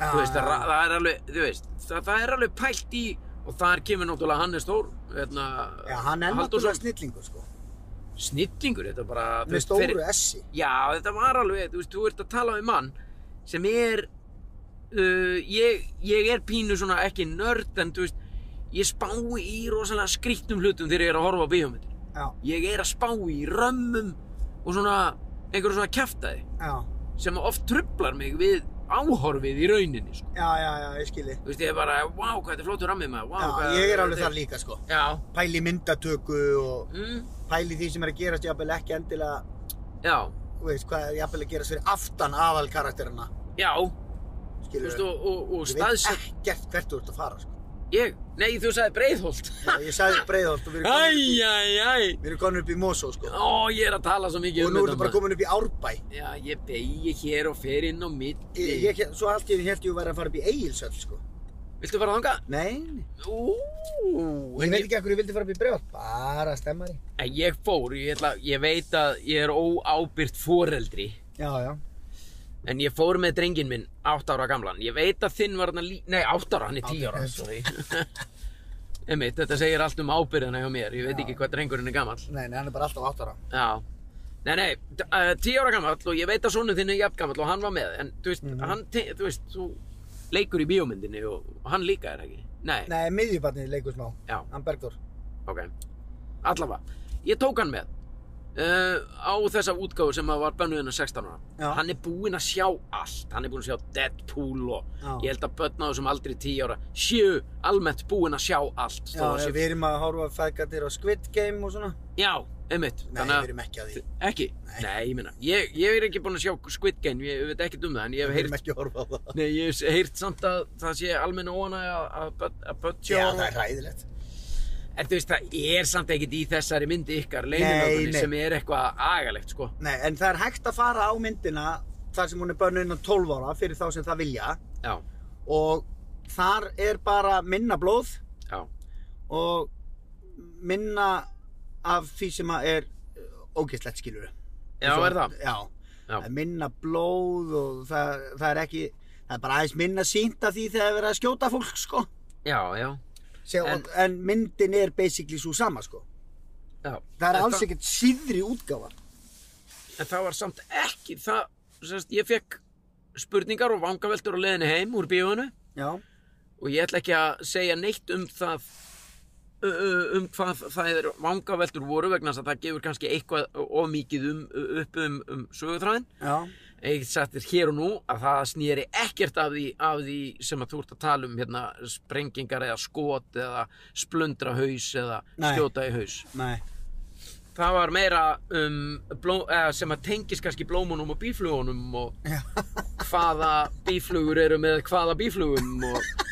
Já, þú veist, já, það, já. það er alveg, þú veist, það, það er alveg pælt í, og þar kemur náttúrulega Hannes Þór hérna, Já, hann er Halldórsson. náttúrulega snillingur sko, snillingur, þetta er bara þú með veist, stóru fyrir- essi. Já, þetta var alveg, þú veist, þú ert að tala við mann sem er uh, ég, ég er pínu svona ekki nörd en þú veist ég spái í rosalega skrýttum hlutum þegar ég er að horfa á bíómyndir Já, ég er að spá í römmum og svona einhverjum svona kjaftaði já, sem oft trublar mig við áhorfið í rauninni sko. já, já, já, ég skilji. þú veist, ég er bara, vá, hvað þetta er flottur rammið maður vá, Já, hvað, ég er alveg þar líka sko. Já, Pæli myndatöku og mm, pæli því sem er að gerast jafnvel ekki endilega, já, þú veist, hvað er jafnvel að gerast fyrir aftan aðal karakterina, já þú skilju. veist, og, og, og Ég veit staðsett ekkert hvert þú ert að fara sko. ég, nei, þú sagði breiðholt Já, ég sagði breiðholt og við erum komin upp í- Æj, æj, æj við erum komin upp í Mosó sko. Ó, ég er að tala svo mikið Og nú um erum bara maður. komin upp í Árbæ. Já, ég beigi hér og fer inn á mitti. Ég, ég, svo allt ég held ég að vera að fara upp í Egilsöld sko. Viltu fara þangað? Nei, nei. Ú, Og ég veit ekki að hverju ég vildi fara upp í bregðalt, bara stemmari. En ég fór, ég, ætla, ég veit að ég er óábyrgt foreldri. Já, já. En ég fór með drengin minn, 8 ára gamlan. Ég veit að þinn var hann að lí... Nei, 8 ára, hann er 10 ára, eh, sorry. Einmitt, þetta segir allt um ábyrðina hjá mér. Ég veit ekki hvað drengurinn er gamall. Nei, nei, hann er bara alltaf átt ára. Já. Nei, nei, d- uh, tíu ára gammal og ég veit að sonum þinn er jafn gammal og hann var með en þú veist, hann, te- þú veist, þú leikur í bíómyndinni og, og hann líka er ekki Nei, Nei, miðjubarnið leikur smá. Já. Hann Bergdór. ok Allavega, ég tók hann með uh, á þessa útgáfu sem að var bönnuðin að 16 ára Já. Hann er búinn að sjá allt, hann er búinn að sjá Deadpool og Já. ég held að börn á þessum aldrei tíu ára séu almennt búinn að sjá allt Já, þó að já, sé- við erum að horfa fæðgatir á Squid Game og svona. Já, einmitt Nei, Þannig að- við erum ekki að því. Ekki? Nei, Nei. ég minna. Ég, ég er ekki búinn að sjá Squid Game, ég veit ekkert um það, en ég hef Við erum heyrt, ekki að horfa á það. nei, ég hef heyrt samt að það sé almenna óanæg að börn- að börn sjá. Já, það er ræðilegt. En þú veist, það er samt ekkert í þessari myndi ykkar Nei, leinilögunni nei. sem er eitthvað agalegt, sko. Nei, en það er hægt að fara á myndina þar sem hún er bönnuð innan 12 ára fyrir þá sem það vilja Já, og þar er bara minna blóð já, og minna af því sem að er eh, ógeðslegt skilur við. já, Svo- er það. Já. Já, það er minna blóð og það, það er ekki það er bara aðeins minna sínt af því þegar verið að skjóta fólk sko já, já, Sér, En- en, en myndin er basically svo sama sko já. það er En alls ekkert síðri útgáfa En það var samt ekki, það, sérst, ég fekk spurningar og vangaveltur á leiðinni heim úr bíóinu já, og ég ætla ekki að segja neitt um það ö- ö- um hvað það er vangaveltur voru vegna þess að það gefur kannski eitthvað of mikið um, upp um, um sögutræðin já, en ég get sagt þér hér og nú að það snýri ekkert af því, af því sem að þú ert að tala um hérna sprengingar eða skot eða splundra haus eða Nei. skjóta í haus nei það var meira um, bló, eða, sem að tengist kannski blómunum og bíflugunum og hvaða bíflugur eru með hvaða bíflugum og,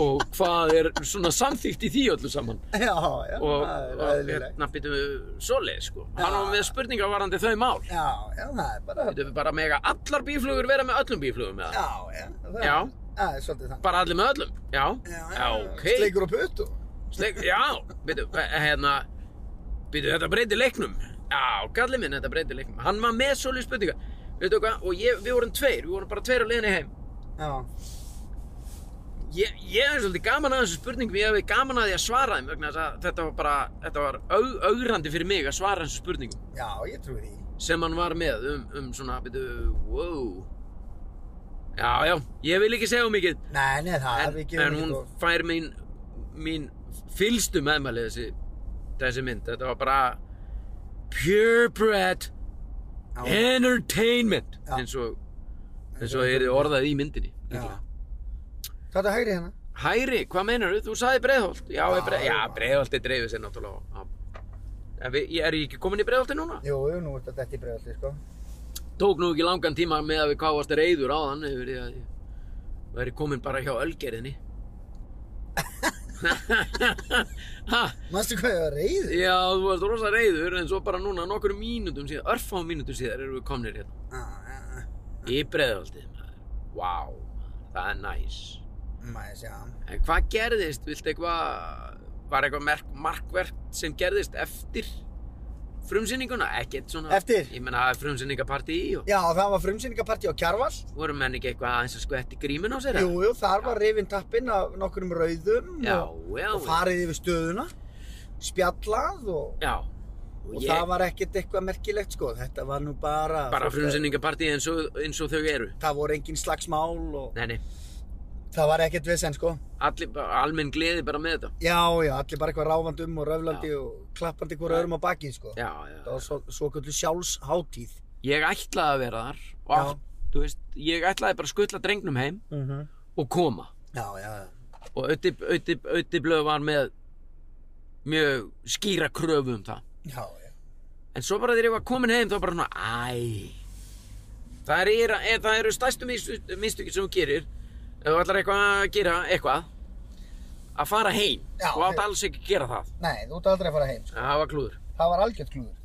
og hvað er svona samþýtt í því öllu saman já, já, og, það er og aðlilegt hérna byttum við svoleið sko hann var með spurningar varandi þau mál já, já, það er bara byttum við bara mega allar bíflugur vera með öllum bíflugum eða já, já, það Já. er, það er svolítið þannig bara allir með öllum já, ok sleikur og putt og Sleik, já, byrju, hérna Byrju, þetta breytir leiknum Já, galli minn, þetta breytir leiknum Hann var með svolítið spurningar Veitu hvað, og ég, við vorum tveir, við vorum bara tveir á leiðinni heim já, Ég, ég er svolítið gaman að þessu spurningum Ég hefði gaman að því að svara þeim vegna þess að þetta var bara, þetta var au, augrandi fyrir mig að svara þessu spurningum já, ég trúi því sem hann var með um, um svona, byrju, wow Já, já, ég vil ekki segja um mikið nei, nei, það en, er ekki en hún fær mín, mín fylstu meðmæli þessi, þessi mynd þetta var bara purebred entertainment Já. hérna. eins og eins og er orðað í myndinni líklega. það er hægri hérna Hæri, hvað meinar þú? Þú sagði Breiðholt Já, Já, já, breið, já já. Breiðholt er dreifið sér náttúrulega á- á- En við, ég- er ég ekki komin í Breiðholti núna? jú, jú, nú er þetta í bregðaldi sko Tók nú ekki langan tíma með að við hvað varst reyður á þann yfir því að ég væri komin bara hjá ölgerðinni Ha, manstu hvað ég var reyður? Já, þú varst rosa reyður en svo bara núna nokkur mínútum síðar, örfá mínútum síðar erum við komnir hérna. já, já, já, Í breiðaldið, maður. Vá, maður, það er næs. maður sé hann En hvað gerðist? Viltu eitthvað, var eitthvað merk, markvert sem gerðist eftir frumsýninguna, ekkert svona Eftir? Ég meina, það er frumsýningapartí í og Já, það var frumsýningapartí á Kjarval. voru menn ekki eitthvað aðeins að skvetti grímin á sér eða? Jú, jú, þar var rifin tappinn af nokkrum rauðum Já, og, já, og farið yfir stöðuna, spjallað og, já og, Og ég, það var ekkert eitthvað merkilegt sko. Þetta var nú bara... fólk eh, bara að- frumsýningapartí eins og, eins og þau eru Það voru engin slagsmál og Nei, nei, það var ekkert vesen sko. allir, bara- almenn gleði bara með þetta Já, já, allir bara eitthvað ráfandi um og röflandi og klappandi hverju öðrum á bakið sko. Já, Það já, var svo, svo kvöldu sjálfsháttíð. ég ætlaði að vera þar og, Já. allt, þú veist, ég ætlaði bara að skutla drengnum heim Mm -hmm. og koma Já, já, já. og Öddi, Öddi, Öddi Blöð var með mjög skýra kröfu um það já, já. en svo bara þegar ég var komin heim þá bara svona æ það, er, er, það eru stærstu mistökir sem þú gerir ef þú ætlar eitthvað að gera eitthvað að fara heim Já, og átt heim. alls ekki að gera það Nei, þú ert aldrei að fara heim sko. það var klúður Það var algjört klúður.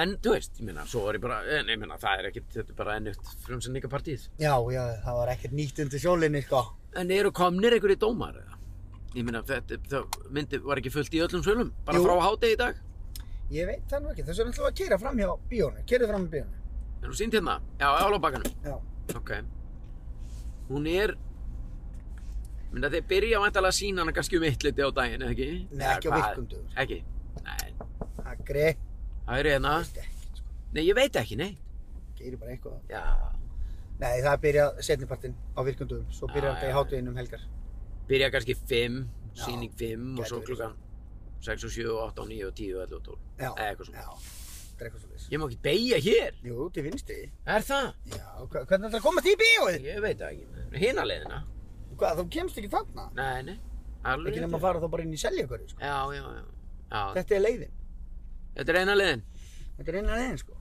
en þú veist, ég meina, svo var ég bara en, ég meina, það er ekkit, þetta er bara ennutt frumsendingapartíð Já, já, það var ekkert nýtt undir sjólinni sko. en eru komnir einhverju dómar eða? ég meina, þetta, það myndi, var ekki fullt í öllum sölum bara Jú. frá hádegi í dag Ég veit það nú ekki, þess vegna ætlum við að keira fram hjá bíónu, keira fram hjá bíónu. er hún sínt hérna? já, á lóðbakkanum Já. Ok. Hún er... Myndi að þeir byrja vantalega að sína hana kannski um eitt liti á daginn, eða ekki? Nei, Eða ekki á hvað? virkum dögum. Ekki? Nei, Það greitt það er hérna. ekkert sko, Nei, ég veit ekki, nei. gerir bara eitthvað. Já, Nei, það byrja setnipartinn á virkundum, svo Já, byrjar þetta já. í hátuðinn um helgar. byrja kannski 5, Já, síning 5 og gæti svo verið. klukkan 6 og 7 og 8 og 9 og 10 og 11 og 12. Já, Eða eitthvað svona. já, þetta er eitthvað svolítið. Ég má ekki beigja hér. Jú, til vinstri. Er það? Já, hva, hvernig ætlar að komast í bíóið? Ég veit það ekki. Hina leiðina? Hvað, þú kemst ekki þarna? Nei, nei. Alveg. Ekki rétt. nema að fara þá bara inn í selja hverju, sko. Já, já, já. Já, Þetta er leiðin. þetta er eina leiðin. Þetta er eina leiðin, sko.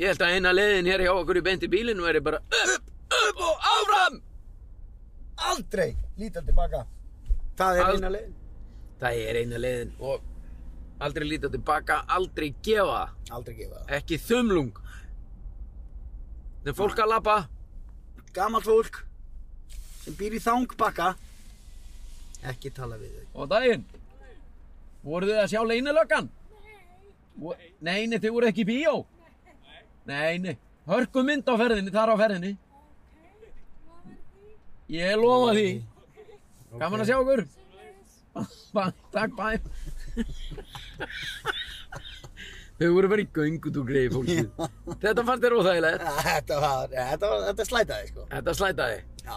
Ég held að eina leiðin hér hjá okkur í beint í bílinu er bara upp, upp og áfram! Aldrei líta tilbaka. Það er Ald- eina leiðin. Það er eina leiðin og aldrei líta tilbaka, aldrei gefa það. Aldrei gefa það. ekki þumlung. Þegar fólk að labba, Gamalt fólk sem býr í þangbakka, ekki tala við þau. og daginn, voruð þið að sjá leynilöggan? Nei. Nei, nei, þið voruð ekki í bíó? Nei. Nei, Hörku mynd á ferðinni, þar á ferðinni. Ég lofa því. Gaman að sjá okkur. Bæ, takk, bæ. Þau voru bara í göngutúkri, fólkið. Þetta fannst þér óþægilegt. Þetta var, þetta var, þetta slætaði, sko. Þetta slætaði. Já.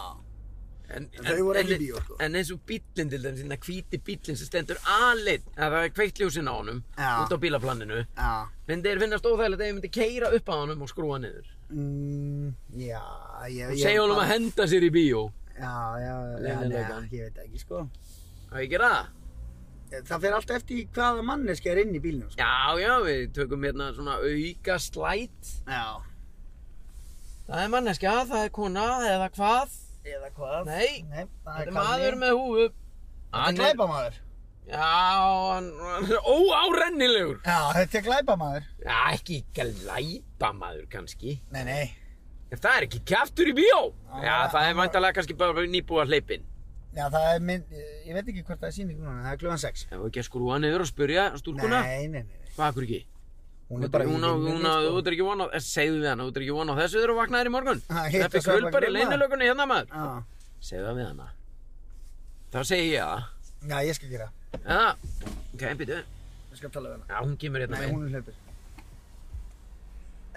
En, En þau voru ekki í bíó, sko. En eins og bíllinn til dæmis, hérna hvíti bíllinn sem stendur aðleitt, að það er kveikt ljósin á honum, Já. út á bílaplaninu, Já. myndi þeir finnast óþægilegt að ég myndi keira upp að honum og skrúa niður. Mm, já, ég... Og ég- segja honum að henda sér í bíó. Já, já, já, Leynilegan. neða, ég veit ekki, sko. Það ekki það? Það fer alltaf eftir í hvaða manneski er inn í bílnum, sko. Já, já, við tökum hérna svona auka slæt. Já. Það er manneska, það er kona, eða hvað? Eða hvað? Nei, Nei, það Þetta er er maður með húfu. Þetta er glæpamaður. Já, hann, hann er óárennilegur. Já, þetta er glæpamaður. Já, ekki glæpa maður kannski. Nei, nei. En það er ekki kjaftur í bíó! Já, Já, það er vantalega kannski bara nýbúa hleypinn. Já, það er mynd, eh, ég veit ekki hvort það er síning núna, það er klukkan 6. Ef við ekki að skrúa niður og spyrja stúlkuna, Nei, nei, nei. nei. hvað akkur ekki? Hún er bara í sko. hún á, hún á, þú vinnunni, ert ekki vonað, segðu við hana, þú ert ekki vonað þessu þegar þú vaknaðir í morgun. Ha, hitt Steppi og Sveppa Krulbar í Krulma. leynilökunni hérna maður. sko. Segðu það við hana. Þá segi ég það. Já, já, ég skal gera. Já, ok, býtu. Ég skal tala við hana. Já, hún kemur hérna Nei, með. hún er hlaupir.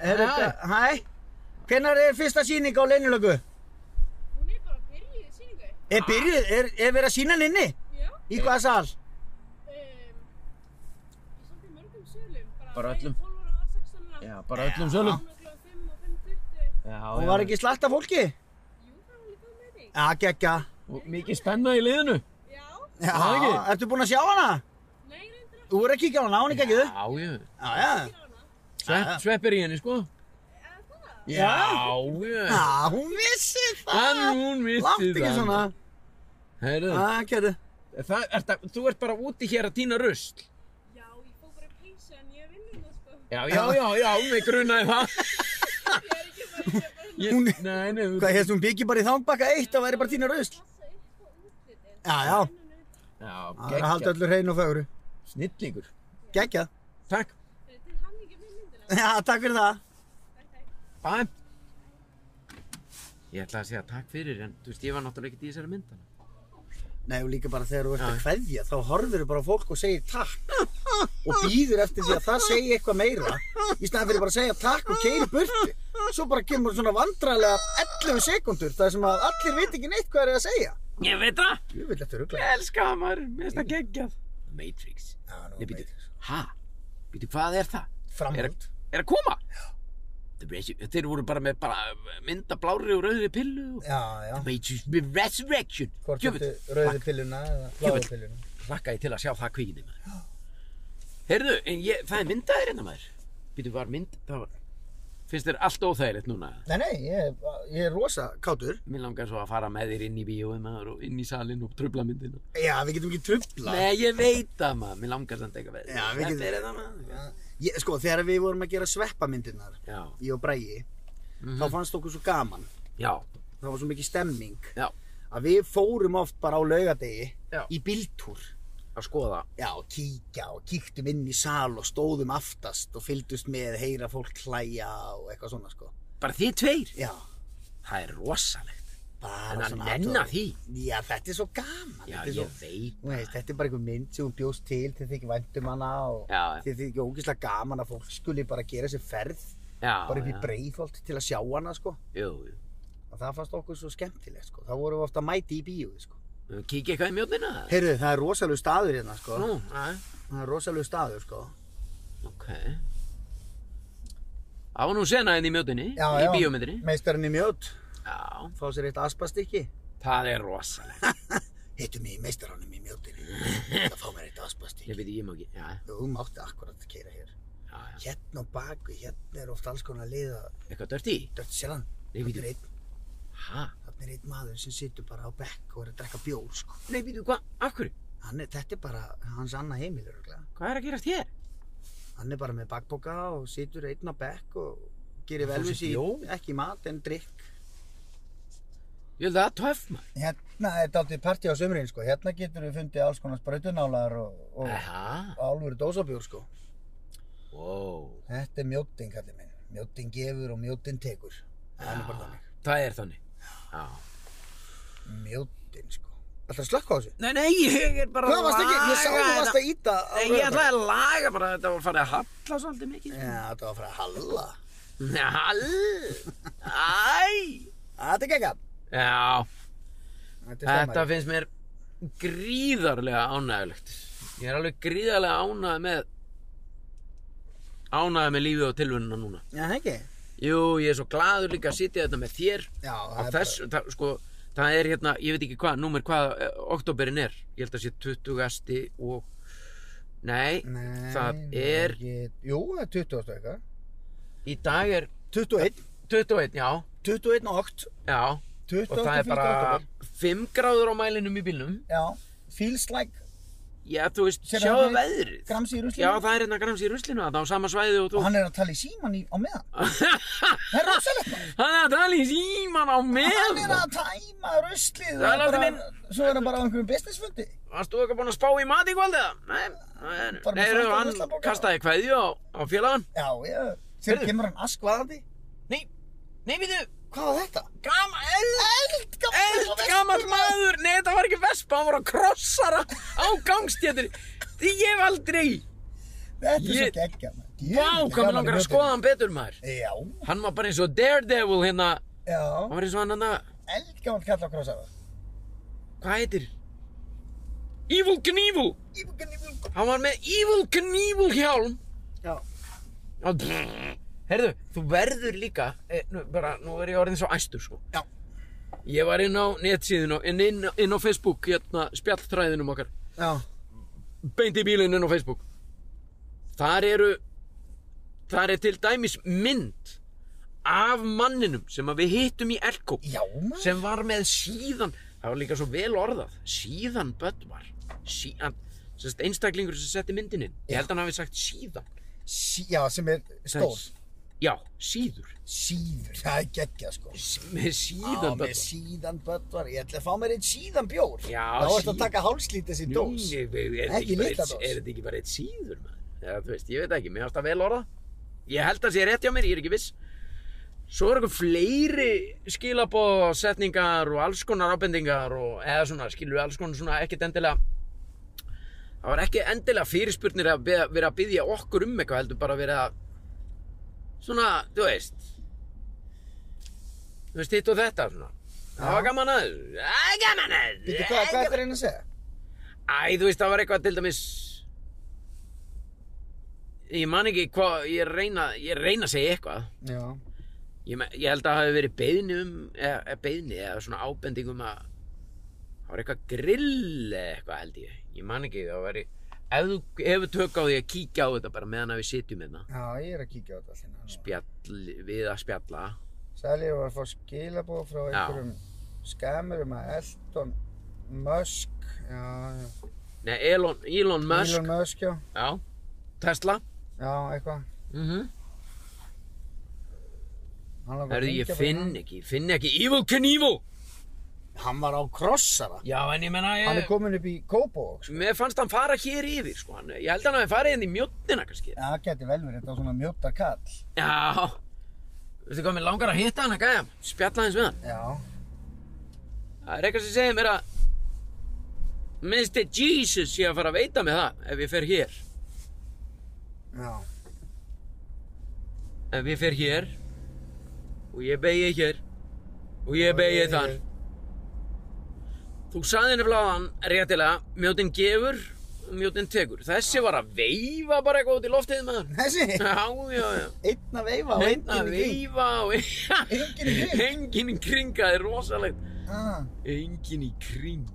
Herru, Hæ. hva- hæ? Hvenær er fyrsta síning á leynilögu? Hún er bara byrjuð í síningu. Er byrjuð, er, er verið að sína hann inni? Já. Í hvaða sal? Um, í svolítið mörgum sölum. Bara öllum. 12 ára, 16 ára. Já, bara öllum sölum. Hún er klokkan 5 og 5.20. Já, Hún já. var ekki slatta fólki? Jú, það var líka með þig. Já, geggja. Og Mikið spenna í liðinu. Já. Já, það ekki? ertu búinn að sjá hana? Nei, reyndur Þú voru að kíkja á hana, á hún ekki ekki þau? Já, já. Já, já. að hana. Svepp, sveppir í henni, sko. Eða það? Já, já. Já, hún vissi það. En hún vissi það. Látt ekki svona. Heyrðu. Já, gerðu. Það, er, það, þú ert bara úti hér að týna rusl. Já, ég fór bara í peysu en ég vinn hérna sko. Já, já, já, já, mig grunaði það. Ég er ekki bara ég er bara hérna Ég, nei, nei, þú- Hvað hérst hún byggi bara í þangbakka eitt, það væri bara þínu raust. að passa upp á útlitið. Já, já. Ennun Já, Það er að halda geggja, öllu hreinu og fögru. snillingur. Geggja. Takk. Til hamingju með myndina. Já, takk fyrir það. Bæ. Ég ætla að segja takk fyrir en þú veist ég var náttúrulega ekki í þessari myndana. Nei, og líka bara þegar þú ert að Já. kveðja, þá horfir þú bara á fólk og segir takk og býður eftir því að það segi eitthvað meira í staðan fyrir bara að segja takk og keiri burti. Svo bara kemur svona vandrarlega 11 sekundur þar sem að allir veit ekki neitt hvað er að segja. Ég veit það. Jú, vil þetta Ég ruggla. elska það maður. Mér finnst það geggjað. Matrix. Nei, býtu. Ha? Býtu, hvað er það? Er, Framhald. er að koma? Þeir voru- Þeir voru bara með bara mynda blári og rauðri pillu og Já, já. Matrix with Resurrection. Hvort Djöfull, þetta rauði pilluna eða bláði Djöfull. pilluna. Hlakka ég til að sjá það kvíkinni maður. Heyrðu, en ég, það er myndaðir hérna maður. Býtu, var mynd, það var, finnst þér allt óþægilegt núna? Nei, nei, ég, ég er rosa kátur. Mér langar svo að fara með þér inn í bíóið maður og inn í salin og trubla myndina. Já, við getum ekki trubla. Nei, ég veit það maður, mér langar samt eitthvað veður. Já, við getum- Þetta er það maður. Ég, sko, þegar við vorum að gera sveppamyndirnar, Já, ég og Brægi, Mhm. þá fannst okkur svo gaman. já, Það var svo mikið stemming. já, að við fórum oft bara á laugadegi Já. í bíltúr að skoða. já, og kíkja og kíktum inn í sal og stóðum aftast og fylgdust með heyra fólk hlæja og eitthvað svona sko Bara þið tveir. já, Það er rosalegt. bara En að svona nenna athugun. því. já, þetta er svo gaman Já, þetta, er ég svo, veit. Þú veist, þetta er bara einhver mynd sem hún bjóst til þið þykir væntum hana og Já, já. þið þykir ógislega gaman að fólk skuli bara gera sér ferð Já, bara upp í já. breiðholt til að sjá hana sko Jú, jú. og það fannst okkur svo skemmtilegt sko þá vorum við ofta að mæti í bíói sko Kíkja eitthvað í mjónina? heyrðu, það er rosalegu staður hérna sko Nú, aðeins. það er rosalegu staður sko Ok. Það var nú sena henni í mjóninni, í bíómyndinni. Meistarinn í mjót, Já, fá sér eitt aspastykki. það er rosalegt. Hittu mig í meistaranum í mjótinni. Það fá mér eitt aspastykki. Ég veit, ég má ekki, já, Þú mátti akkurat að keira hér. já, já. Hérna á baku, hérna er oft alls konar að liða Eitthvað dört í? dört sjálfan. Nei, Þarna er býtu. einn- Hæ? þarna er einn maður sem situr bara á bekk og er að drekka bjór, sko. Nei, býtu, hvað? Af hverju? Hann er, þetta er bara hans annað heimil, örgulega. Hvað er að gerast hér? Hann er bara með bakboka og situr einn á bekk og gerir Hann vel fá við sín, sér bjór? ekki mat en drikk. Ég held að það er töff maður. Hérna er daldið partí á sömurinn, sko. Hérna getur við fundið alls konar sprautunálar og, Aha. álfur dósabjór, sko. Wow. Þetta er mjóting, kallið minn. Mjóting gefur og mjóting tekur. Það er bara þannig. Það er þannig. Já. Mjóting, sko. Ætlar að slökka á þessu? Nei, nei, ég er bara Hvað varst ekki? Ég sá þú varst að íta á Nei, ég ætlaði að laga bara þetta var farið að halla svolítið mikið. Já, þetta var að fara að halla. Nei, hall. Æ. Þetta er geggjað. Já, Þetta er þetta stemmari. finnst mér gríðarlega ánægulegt. Ég er alveg gríðarlega ánægð með ánægð með lífið og tilvunna núna. Já, það ekki? Jú, ég er svo gladur líka að sitja þetta með þér Já, á þess, það, sko, það er hérna, ég veit ekki hvað, númer hvað eh, októberinn er, ég held að sé 20. og, nei, Nei, það nei, er, Ég... Jú, það er 20 ástu eitthvað. í dag er 21. 21, já, 21 og 8. já, 20 og það er bara 5 gráður á mælinum í bílnum, Já. Feels like já, þú veist, Sérðu sjáðu þarna í- veðrið, grams í ruslinu. já, það er hérna grams í ruslinu, það á sama svæði og Og þú, hann er að tala í síman í, á meðan. Það er rosalegt maður. hann er að tala í síman á Hann er með, að tæma ruslið. Það er og látið bara- minn. Svo er hann bara á einhverjum businessfundi. varst þú eitthvað búin að spá í mat í kvöldið, nei, nei, Bara með nei, heyrðu, svartan hann ruslapoka. kastaði kveðju á, á félagann, Já, já. Sér Heyrðu. kemur hann askvaðandi. nei, nei, við þau, Hvað var þetta? Gammal eld, Eldgamall eld, gammal maður Nei, þetta var ekki vespa, hann var á krossara á gangstjættir Því ég hef aldrei Þetta er svo Ég- geggja Vá, hvað mér langar að skoða hann betur maður Já, Hann var bara eins og Daredevil hérna já Hann var eins og hann hann Eldgammal kall á krossaða hvað heitir? Evil Knievel Hann var með Evil Knievel hjálm Já. Og Herðu, þú verður líka eh, nú, bara, nú er ég orðin svo æstur sko Já. Ég var inn á netsíðinu inn, inn, inn á Facebook, hérna spjalltræðinum okkar Já, beint í bílinn inn á Facebook þar eru þar er til dæmis mynd af manninum sem að við hittum í Elko já maður sem var með síðan það var líka svo vel orðað síðan Böttvar síðan, sem sagt, einstaklingur sem setti myndin inn ég held að hann hafi sagt síðan sí, Já, sem er stór já, síður Síður, það er geggja sko S með Já, síðan með Böttvar síðan böttvar Ég ætla að fá mér einn síðan bjór Já, Þá ertu síðan. að taka hálslítið sér dós Nú, nei, er, þetta Ekki ekki bara litla eitt- dós. er þetta ekki bara eitt síður maður? eða þú veist, ég veit það ekki, mér finnst það vel orða ég held að sé rétt hjá mér, ég er ekki viss svo eru eitthvað fleiri skilabóðsetningar og alls konar ábendingar og eða svona, skilur við alls konar svona ekkert endilega það var ekki endilega fyrirspurnir að be- vera að byggja okkur um eitthvað heldur bara verið að svona, þú veist þú veist, hitt og þetta svona það var gaman að þessu, það er gaman að þessu Býttu, hvað, hvað er það reyna að segja? Æ, þú veist, það var eitthvað til dæmis Ég man ekki hvað, ég er að reyna, ég er að reyna að segja eitthvað Já. Ég, me- ég held að það hafi verið beiðni um, eða, eða beiðni eða svona ábending um að Það var eitthvað grill eða eitthvað held ég Ég man ekki, það var Ef þú hefur tök á því að kíkja á þetta bara meðan að við sitjum hérna Já, ég er að kíkja á þetta allir. núna. Spjall, við að spjalla Sæli, ég var að fá skilabóð frá einhverjum skemmur um að Elton Musk, já, já. Nei, Elon, Elon Musk Elon Musk, já, Já, Tesla já, eitthvað. mm Mhm. Hann var að Herðu, ég hringja bara í finn ekki, ég finn ekki Evil Knievel hann. hérna. Hann var á krossara. Já, en ég menna ég... Hann er komin upp í Kópavók, sko. Mér fannst hann fara hér yfir, sko. Hann, ég held hann að hann farið inn í mjóttina, kannski. Já, það geti vel verið þetta var svona mjóta kall. Já. Veistu hvað, mér langar að hitta hann að gæja. Spjalla hans við hann. Já. Það er eitthvað sem segir mér að... Mr. Jesus sé að fara að veita með það ef ég fer hér. Já. Ef ég fer hér. Og ég beigi hér. Og ég beigi þar. Þú sagði nefnilega á hann réttilega, mjóttin gefur, mjóttin tekur. Þessi var að veifa bara eitthvað út í loftið með hann. Þessi, Já, já, já. einn að veifa og Einn að enginn í kring. veifa og Enginn í kring. enginn í kring, það er rosalegt. Ah, Enginn í kring.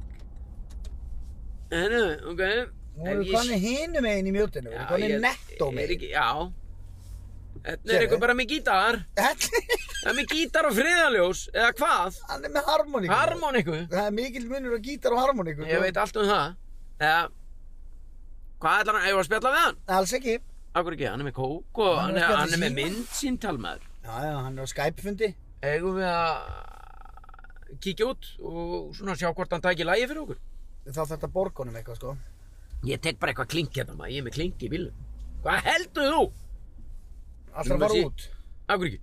En, ok. nú en erum ég- við konið hinum meginn í mjótinu, við Já, erum konið ég- nettó er meginn. ekki- Já. Þetta er Sérðu? eitthvað bara með gítar. Það er með gítar og friðaljós, eða hvað? Hann er með harmoníku. Harmoniku. Það er mikil munur á gítar og harmoníku. sko. Ég veit allt um það. Eða, hvað ætlar hann, eigum við að spjalla við hann? Alls ekki. Akkur ekki, hann er með kók og Hann hann er, er að spjalla hann er með síma. myndsýntalmaður. Já, já, hann er á Skype-fundi. Eigum við að kíkja út og svona sjá hvort hann tæki lægi fyrir okkur? Þá þarf þetta borgunum eitthvað, sko. Ég tek bara eitthvað klink hérna maður, ég er með klink í bílnum. Hvað heldur þú? Nú, Alltaf að fara sí. út. Akkur ekki.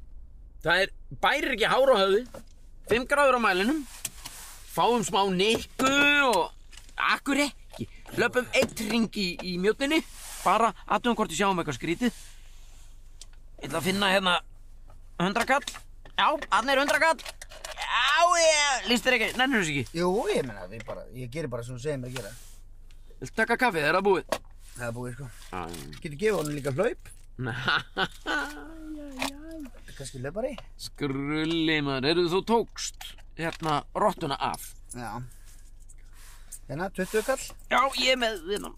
Það er, bærir ekki hár á höfði, 5 gráður á mælinum, fáum smá nikku og akkur ekki. Löpum eitt ring í, í mjóttinni, bara aðtum hvort við sjáum eitthvað skrítið. Ég ætla að finna hérna 100 kall. Já, hann er 100 kall. Já, ég, líst þér ekki, nennir þess ekki. Jú, ég meina, ég, bara, ég gerir bara sem þú segir mér að gera. Viltu taka kaffið, er það búið? Það er búið, sko. Æ, Getur gefið honum líka hlaup. Næ, Kannski hlaupari. skrulli maður, eru þú tókst hérna rottuna af? Já. Hérna, 20 kall. Já, ég er með viðnum.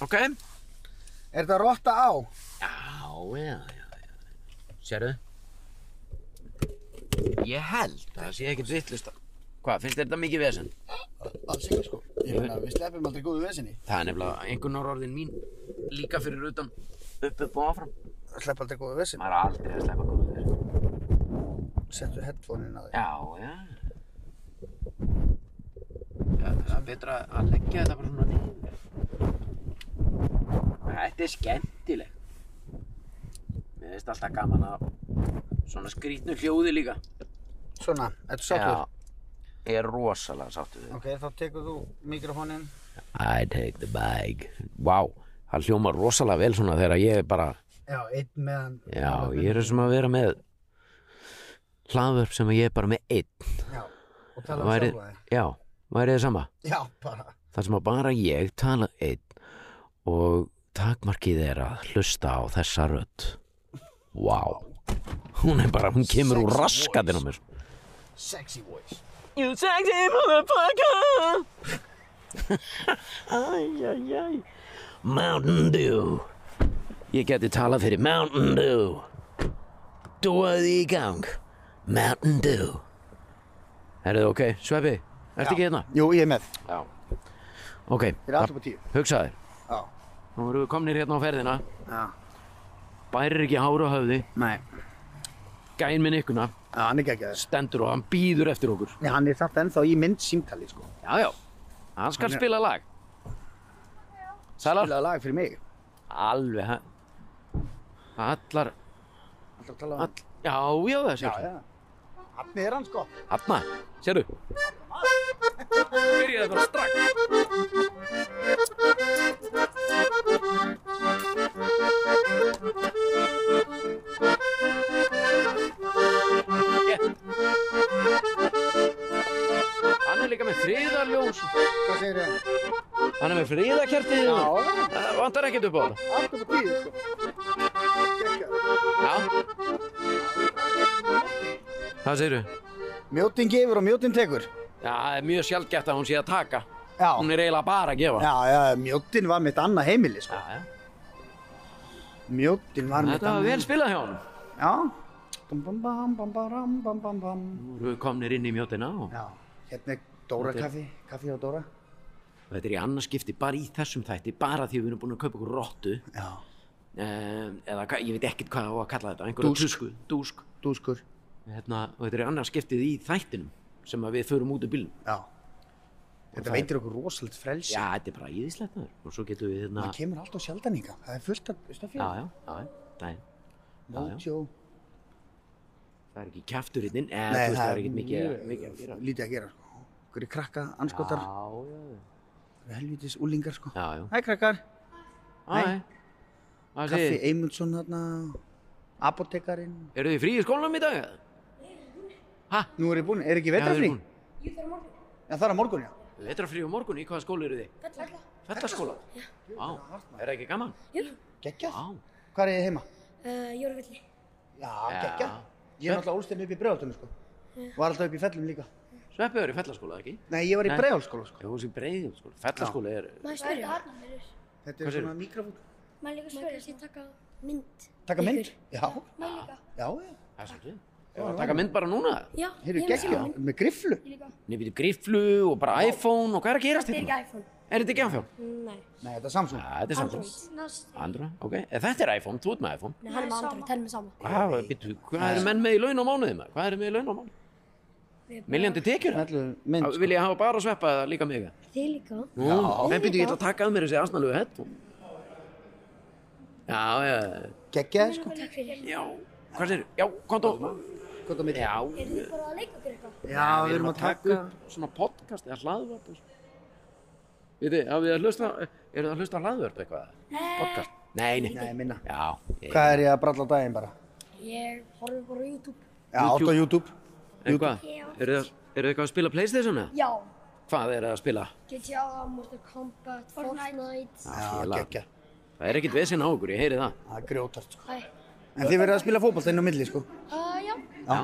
Ok? Er þetta rotta á? Já, já, já, já. Sérðu? Ég held að það sé ekkert vittlust að... Hvað, finnst þér þetta mikið vesen? Alls ekki, sko. Ég Hérna, meina, við sleppum aldrei góðu vesinni. Það er nefnilega einhvern orð orðin mín, líka fyrir utan, upp, upp og áfram. Slepp aldrei góðu vesinni. Maður er aldrei að sleppa góðu þér. Settu headphone-in á þig. Já, já. Já, það er betra að leggja þetta bara svona niður. Þetta er skemmtilegt. Mér finnst alltaf gaman að svona skrítnu hljóði líka. Svona, ertu sáttur? Ég er rosalega sáttur við. Ok, þá tekur þú mikrofónin. I take the bag. Vá, það hljómar rosalega vel svona þegar ég er bara, Já, einn meðan. já, ég er sem að vera með hlaðvörp sem ég er bara með einn. Já, og tala um Væri- sjálfa þig. Já, væri það sama? Já, bara. þar sem að bara ég tala einn og takmarkið er að hlusta á þessa rödd Vá Hún er bara, hún kemur úr Sexy raskatinn á mér Sexy voice. You sexy motherfucker Æj, æj, æj Mountain Dew Ég geti talað fyrir Mountain Dew Dóaði í gang Mountain Dew Er þið ok, Sveppi? Ertu ekki hérna? Jú, ég er með. Já Ok, Ég er alltaf på tíu. hugsaðir Já. Nú erum við komnir hérna á ferðina, Já. bærir ekki hár á höfði, Nei. gæn minn ykkuna, Já, hann er geggjaður. stendur og hann býður eftir okkur. Nei, hann er samt ennþá í mynd símtali, sko. Já, já, hann skal spila lag. Sælar, Spilaðu lag fyrir mig. alveg hann- allar, Alltaf að tala um all, já, já, það Já, sér já Hafnið er hann sko Hafna, sérðu Byrjaði bara strax Yeah. Hann er líka með friðarljós Hvað segir ég? Hann er með friðarkertið Já, hérna. allt Það vantar ekkert upp á það upp á tíu sko Gekkja Já Hvað segirðu? Mjótin gefur og mjótin tekur Já, það er mjög sjálfgætt að hún sé að taka Já Hún er eiginlega bara að gefa Já, já, mjótin var mitt annað heimili sko Já, já. Mjótin var mitt Þetta var annað vel spilað hjá honum Já Bam, bam, bam, bam, bam, bam, bam, bam Nú erum við komnir inn í mjótina og Já, hérna er Dóra Þetta er- kaffi Kaffi á Dóra þetta er í annarskipti bara í þessum þætti bara því við erum búin að kaupa okkur rottu Já eh, eða hva- ég veit ekkert hvað á að kalla þetta einhverja Dúsk. tusku, dúsk Dúskur hérna, og þetta er annarskiptið í þættinum sem að við förum út úr bílnum Já Þetta það er- veitir okkur rosalegt frelsi Já, þetta er bara íðislegt maður og svo getum við hérna Það kemur alltaf sjaldan ykkar Það er fullt af Já, stafið já, já, já, það er, já. Mótjó það er ekki kjafturinn en þú veist það er ekkert mikið, mikið að gera Lítið að gera sko Hverju krakka, anskotar, Já, já, helvitis, úlingar sko já, já. Hæ krakkar Æ, Nei. Hvað Kaffi segir- Eymundsson þarna Apotekarinn Eruð þið frí í skólanum í dag? Hæ? Nú er ég búinn, er ekki vetrafrí? Já, það er á morgun, já Vetrafrí á morgun, í hvaða skóla eru þið? Fella. Fellaskóla? Vá, er það ekki gaman? Geggjað Vá, Hvað er þið heima? Uh, Jóruvilli. Já, Já. geggjað Ég er náttúrulega ólst hérna upp í bregaldunum sko Var alltaf upp í fellum líka Sveppi er í fellaskóla, ekki? Nei, ég var í Nei. bregaldskóla sko Já, þú sé breiðum skóla. Fellaskóla er... Maður spyrja. Þetta Hvað er segirðu? svona mikrofón Maður líka spyrja. Maður kannski taka mynd. Taka mynd? Ykkur. Já, Maður líka. já, já Það er svolítið. Ef að taka mynd bara núna? Já. Heyrðu, ég er með síma geggjað, mynd. með grifflu Ég líka. Nei, býtu griflu og bara iPhone og hvað er að gerast Þetta er hérna? ekki iPhone. Er þetta ekki iPhone? Nei. Nei, þetta er Samsung Já, þetta er Samsung. Android. Andra, ok. Ef þetta er iPhone, þú ert með iPhone. Nei, hann er með Android. Henn er með sama. Hvað, býtu, hvað eru menn með í laun á mánuði maður? Hvað eru með í laun á mánuði? Við bara- Miljandi tekjur? Smellu mynd Á, sko. Vil ég hafa bara sveppa eða líka mig? Þið líka. Nú, en býtu, ég ætla að taka að mér þessi aðsnalegu hett. Já, já, Geggjaði sko Takk fyrir. já. Hvað sér? Já, konto. Hvað það mitt? Já, Eru þið bara að leika okkur eitthvað? Já, við erum að taka upp svona podcast eða hlaðvörp Við þið, hafið þið að hlusta eru þið að hlusta á hlaðvörp eitthvað? Podcast? Nei, nei, Nei, minna Já, ég, Hvað er ég að bralla á daginn bara? Ég horfði bara á YouTube. Já, átt á YouTube eitthvað Eru þið er eitthvað að spila Playstation eða? Já. Hvað er það að spila? GTA, Mortal Kombat, Fortnite. Já, félag. geggjað Það er ekkert vesinn á okkur, ég heyri það Það er grjótart sko Æ. En þið verður að spila fótbolta inn á milli sko Uh, já. Já,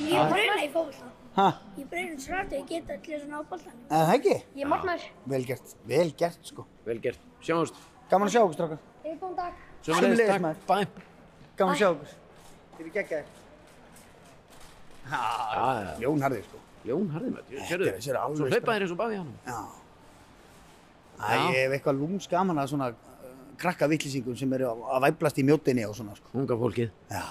Ég breyna í fólkvall. Ha, Ég breyna í srættu. Ég get allir svona á boltanum. en það ekki? Ég er margmær. Vel gert, vel gert sko vel gert, sjáumst Gaman að sjá okkur strákar Ég er góðan dag. Sömuleiðis, Sömuleiðis, takk. maður. Bye. Gaman að sjá okkur Þið eru geggjaðir Já, já, já. Ljónharðir sko Jón Harði með, sérðu Þetta er- þetta er alveg Svo hlaupa strax. þér eins og baði hann Já Æ, Já. ég hef eitthvað lúms gaman að svona uh, krakka vittlýsingum sem eru að- að væblast í mjótinni og svona sko Unga fólkið Já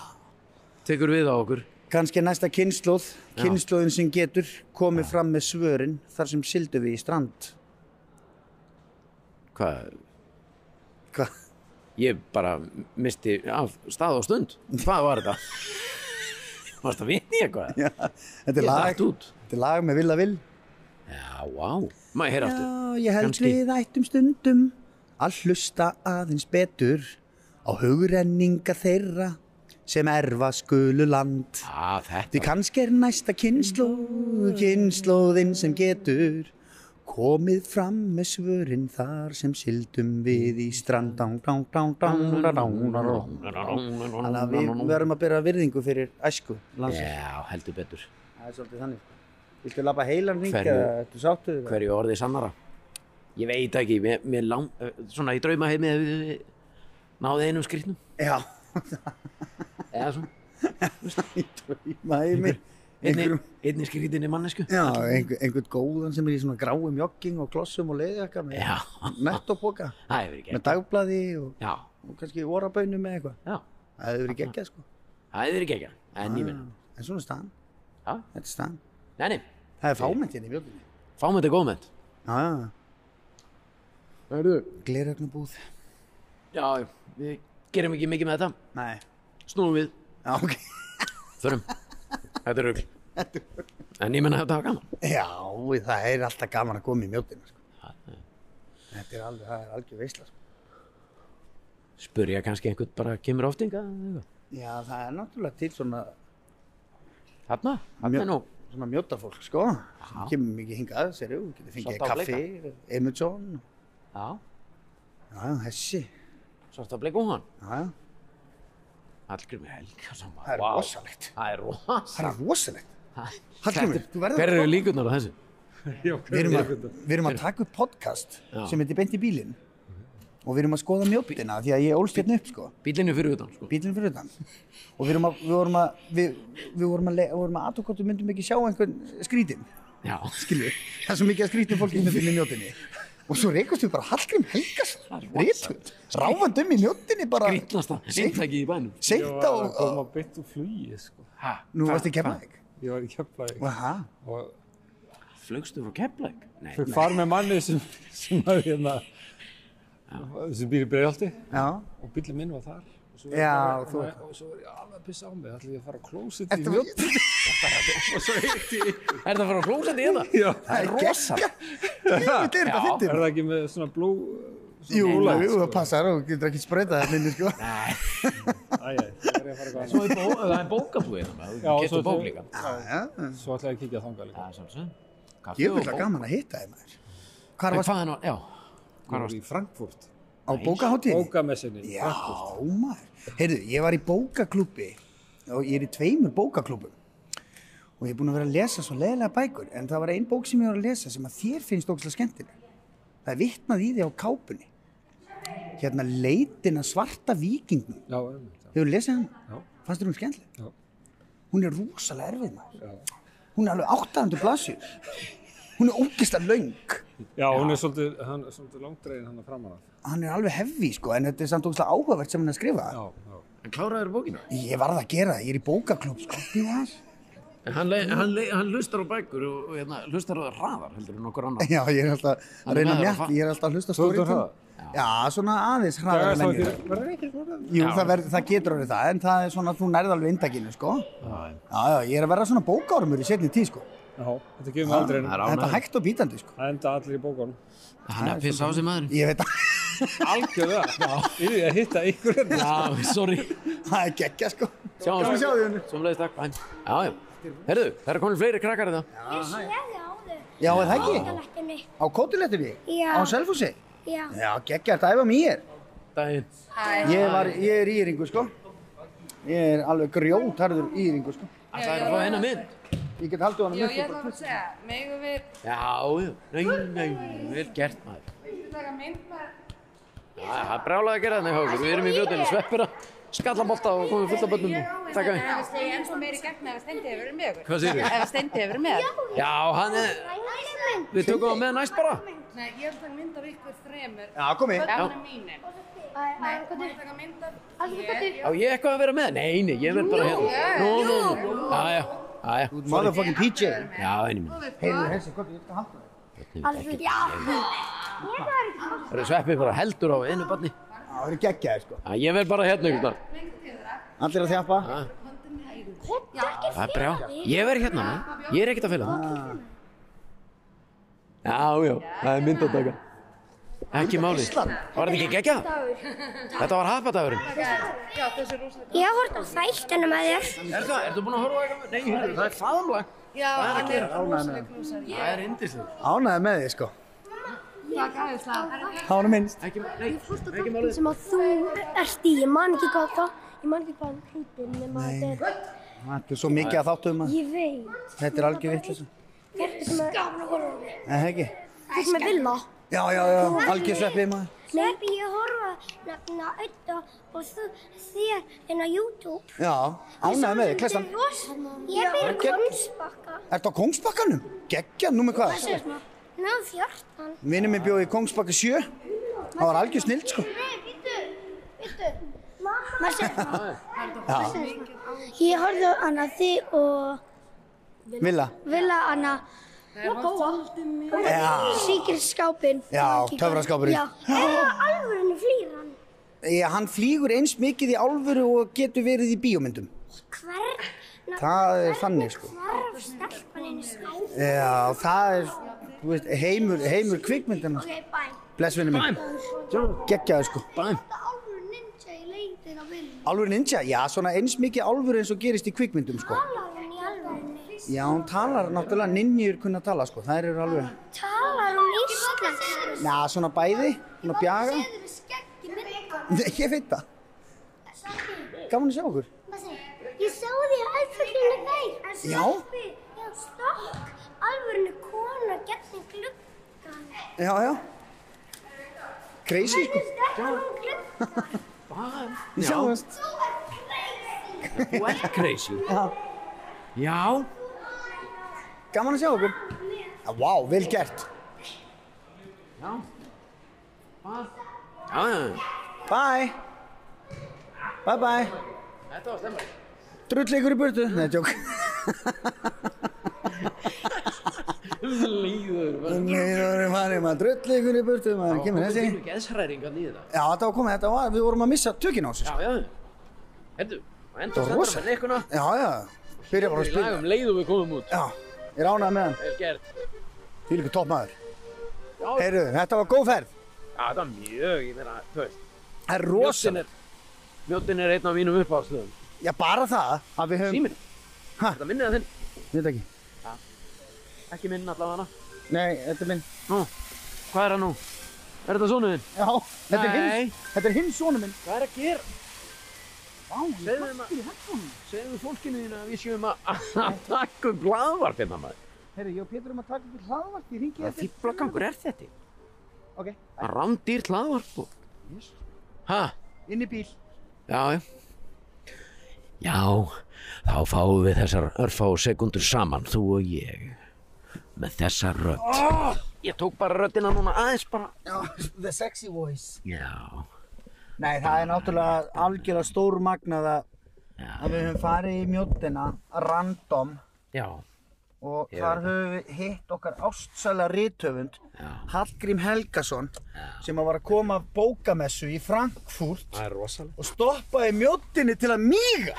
Tekur við á okkur Kanski næsta kynnslóð, Já. kynnslóðin sem getur komið fram með svörin þar sem sildu við í strand Hvað, Hvað? Ég bara misti af stað og stund. Hvað var þetta? Varst að vinni eitthvað? Já, þetta er Ég lag datt út. Þetta er lag með Villa Vill Já, vá. Maður, heyr aftur. Já, ég held Kannski. við ættum stundum að hlusta aðeins betur á hugrenninga þeirra sem erfa skulu land. Já, þetta. Því kannski er næsta kynnslóð, kynnslóðin sem getur komið fram með svörin þar sem sildum við í strand. Dang, dang, dang, dang, dang, dang, dang. Þannig að við verðum að byrja virðingu fyrir æsku landsins. Já, heldur betur. Það er svolítið þannig. Viltu lappa heilan ring Hverju- eða ertu sáttuð? Hverju orðið sannara? Ég veit ekki, mér, mér lang... eh, Svona í drauma heimi hefði náði einum skrýtnum. Já, Eða svona. í drauma heimi. Einni, einni skrýtinni mannesku. Já, einhver, einhvern góðan sem er í svona gráum jogging og klossum og leiðjaka með Já. nettopoka, Það hefur verið með gert. dagblaði og, Já, og kannski orabönum með eitthvað. já. Það hefur verið geggjað sko. Það hefur verið geggjað. En ég minna. En svona er staðan, Já, þetta er staðan. nei, nei. Það er fámænt hérna í mjölunni. Fáum þetta góðmynd. Já, já. Herðu, Glerögnabúð. Já, já, við gerum ekki mikið með þetta. Nei. Snúum við, Já, ok. förum. Þetta er rugl. En ég menna þetta var gaman. Já, það er alltaf gaman að koma í mjótina, sko. Þetta er alveg, það er algjör veisla, sko. Spurja kannski einhvern bara kemur oftinga. Já, það er náttúrulega til svona, Þarna, þarna Mjög- er nú. svona mjótafólk, sko. Sem kemur mikið hingað, sér þú, getur fengið Svolítið á kaffi, emulsón. Já, Já, hessi. svarta bleik og hann. Já, Hallgrimur Helgason. það er vá. rosalegt. Það er rosa. Það er rosalegt. Hallgrímur, þú verður að Hver eru líkurnar á þessu? Við erum, að, við erum að taka upp podcast Já. sem heitir Bent í bílinn og við erum að skoða mjótina því að ég ólst hérna upp sko, Bílinni fyrir utan, sko. bílinn fyrir utan og við, erum að, við vorum að við, við vorum að, le- vorum að aðtúr hvort við myndum ekki sjá einhvern skrítin Já, skilju, það er svo mikið að skrítin fólki hérna fyrir mjótinni og svo reykast við bara Hallgrím Helgason, rítund ráfand um í mjótinni bara grítnasta, eintæki í bænum. seint á, Ég var að á koma beint úr flugi, sko. Ha, nú varst í Keflavík Ég var í Keflavík Aha. og flugstu frá Keflæk? Nei, fyrir far með manni sem, sem var hérna, sem býr í Breiðholti Já. og bíllinn minn var þar. Og svo var ég Já, bara- þú- og- Og svo var ég alveg að pissa á mig, ætla ég að fara á klósit í Þetta mjótt. var- er það hérna? að fara á klósetti í það? Já, það er rosalega Jöfull er sko. þetta Já. fyndið er það ekki með svona blú, Jú, Nei, jú, það passar og getur ekki spreytað það minni, sko. æja, það var ég að fara eitthvað annað. Svo er bó, það er bókabúið það, Já, þú svo- getur bók líka. Já, Svo ætla ég að kíkja þangað líka. Það er svolítið. Kaffi Ég vil það gaman að hitta þið, maður. Hvar En varst hvaðan var, já. Hvað var í Frankfurt? á bókaháttíðinni? Bókamessinni. Já, maður. Heyrðu, ég var í bókaklúbbi og ég er í tveimur bókaklúbum og ég er búinn að vera að lesa svo leiðilega bækur en það var ein bók sem ég var að lesa sem að þér finnst ógslag skemmtileg. Það er vitnað í því á kápunni. Hérna leitin að svarta vikingnum. Já, einmitt, já. Hefur lesið hann? Já. Fannst þér hún skemmtileg? Já. Hún er rosalega erfið maður. Já. Hún er alveg 800 blaðsjur. Hún er ógislega laung. Já, hún er svolítið, hann er svolítið langdregin hann að framan af. Hann er alveg hefvi sko, en þetta er samt ógislega áhugavert sem hann er að skrifa. Já, já. En kláraður bókina? Ég varð að gera það, ég er í bókaklúb sko. Ég var- En hann, le- hann, le- hann lustar á bækur og, og hérna, lustar á það hraðar heldur en okkur annar. Já, ég er alltaf að Hann er reyna maður að mjall, fa- ég er alltaf að hlusta Þú ert að stóri tón. Já, svona aðeins hraðar en venjulega. verður ekki svona? Jú, það, verð, það getur orðið það, en það er svona, þú nærði alveg indakinu sko. Já, Já, já, ég er að verða svona bókárumur í setni tíð sko. Já, þetta gefur mig aldrei en Það er Þetta er ánægður. hægt og bítandi sko. það enda allir í bókunum. Hann er að pissa á sig maður. Ég veit að Algjörlega, ég er að hitta ykkur hérna. Já, sorry. það er geggja sko. Sjáum Gaman að sjá þig, Unni. Sjáumlega, takk. bæ. Já, já. Herðu, það eru komin fleiri krakkar hérna. þetta. Ég sé þig á þau. Já, er það ekki? Bókalættinni. Á kótilettinni? Já. Á selfhúsi? Já. Já, geggjart, æfa mér. Daginn. Ég, var, ég er íringu, sko. Ég er alveg grjótarður íringu, sko. Það er að fá hennar mynd. Ég get haldið honum Já, upp. ég ætla bara að segja, megum við Já, já. Nei, nei, vel gert maður. taka mynd með Já, það er brálega að gera þannig hókur. Við erum í mjótinu, sveppira, skallabolta og komum fullt af bönnum og taka við. Ef það er ennþá meiri gegn ef steindi hefur verið með okkur. Hvað segirðu? Ef að steindi hefur verið með. Já, hann er, Næsmynd. við tökum það með næst bara. Nei, ég vil taka mynd af ykkur þremur. Já, komi. Bönnum mínum. Nei, Æ, má ég taka mynd af æ, Já, ég eitthvað að vera með? Nei, nei, ég verð bara hérna. Nú, nú, nú. Já, já, já, já. Motherfucking PJ. Já, henni minn. Heyrðu, þessi, hvað er þetta haldið? Alfred, já. Ég var ekki. Það eru sveppið bara heldur á einu barni. Já, það eru geggjaðir, sko. Já, ég verð bara hérna ykkur þar. Allir að þjapa. Það er brjá. Ég verð hérna, nei. Ég er ekkert að fylga það. Já, já, það er mynd að taka. Ekki máli. Var þetta ekki gegja? Þetta var hapadagurinn. Ég hort á þættunum að þér. Er það, ertu búin að horfa eitthvað? Nei, heyrðu, það er faðumlag. Já, hann er rosaleg Það er indislega. Ánæði með þig, sko. Það var minnst. Ekki, nei, ekki málið. Sem að þú ert í, ég man ekki hvað það, ég man ekki hvað hann heitir, nema að þetta er, Þetta er svo mikið að þáttu um að ég veit. þetta er algjör vitlis. Þetta sem að, þetta En það ekki? sem að vilma. Já, já, já, algjör sveppið maður. Sveppi, ég horfa nefna öll og þú, þér inn á YouTube. Já, ánæði með þig, klessan. Ég Það er byrði gegn- konspakka. Ertu á Kongsbakkanum? Geggja, nú með hvað? Hvað segir maður? Ná, 14. Vinnum minn bjóði í Kongsbakka 7. Það var algjör snild, sko. Nei, býttu, býttu. Maður segir maður. Ég horfði á hana þig og Villa. vilja hana. Og góa. Já. Sýkir skápinn. Já, töfraskápurinn. Já, eða alvörinu flýr hann. Ég, hann flýgur eins mikið í álfuru og getur verið í bíómyndum. Hver? Það er þannig sko. Hvarf stelpanin í skæð? Já, það er, þú veist, heimur, heimur kvikmyndana. Ok, bæ. Bless vinnu minn. Gekkjaðu sko. Bæm. Þetta álfur ninja í leitin á viljum. Alvöru ninja? Já, svona eins mikið álfur eins og gerist í kvikmyndum sko. Talar hún í alvegni? Já, hún talar náttúrulega, ninjur kunna tala sko. Það eru alveg, Talar hún um íslensku? já, svona bæði, svona bjaga. Seður við skeggi mynda. Nei, ég veit það. Gaman að sjá okkur. Ég sá því að alfuglinu þeir. Já. Já, stokk. Alvörinu kona gerði gluggan. Já, já. Crazy sko. Stelpan hún gluggan. Við Já. sjáumst. Þú er crazy. Þú ert crazy. Já. Já. Gaman að sjá okkur. Já, vá, vel gert. Já. Hvað? Já, já. Bye. Bye bye. Þetta var stemmar. Drull ykkur í burtu. Nei, tjók. Líður. bara. Nei, það er maður, maður drull ykkur í burtu, maður kemur Komum þessi. pínu geðshræringar niður það. Já, þetta var komið, þetta var, við vorum að missa tökina á þessu. Já, sko. já. Herðu, og Það enda var stendur rosa. með neikuna. Já, já. Byrja bara að Við spila. lagum leið og við komum út. Já, ég ránaði með hann. Vel gert. Því líka topp maður. Já, já, Heyrðu, þetta var góð ferð. þetta var mjög, ég meina, þú veist. Það er Mjóttin rosa. er, mjóttin er einn af mínum uppáhaldsluðum. Já, bara það að við höfum, Síminn. Ha? Þetta minnið að þinn. við veit ekki. Ekki minn allavega Nei, þetta er minn. Nú, hvað er það nú? Er þetta sonu þinn? Já, þetta er Nei. hins, þetta er hins sonu minn. Hvað er að gera? Vá, ég Segðu er þeim að- fastur í headphone. Segðu fólkinu þínu að við séum að að taka upp hlaðvarp hérna maður. Heyrðu, ég og Pétur erum að taka upp í hlaðvart, ég ringi Hvaða fíblagangur er þetta? Ok, Að rándýr hlaðvarp og... Jesus. Hæ? inn í bíl. Já, já. Já, þá fáum við þessar örfá sekundur saman, þú og ég. Með þessa rödd. Ég tók bara röddina núna aðeins bara. The sexy voice. Já, Nei, það er náttúrulega algjörlega stór magnað að, að við höfum farið í mjóttina random já, og Ég þar veit höfum við hitt okkar ástsæla rithöfund já. Hallgrím Helgason sem að var að koma af bókamessu í Frankfurt Það er rosalega. og stoppaði mjóttinni til að míga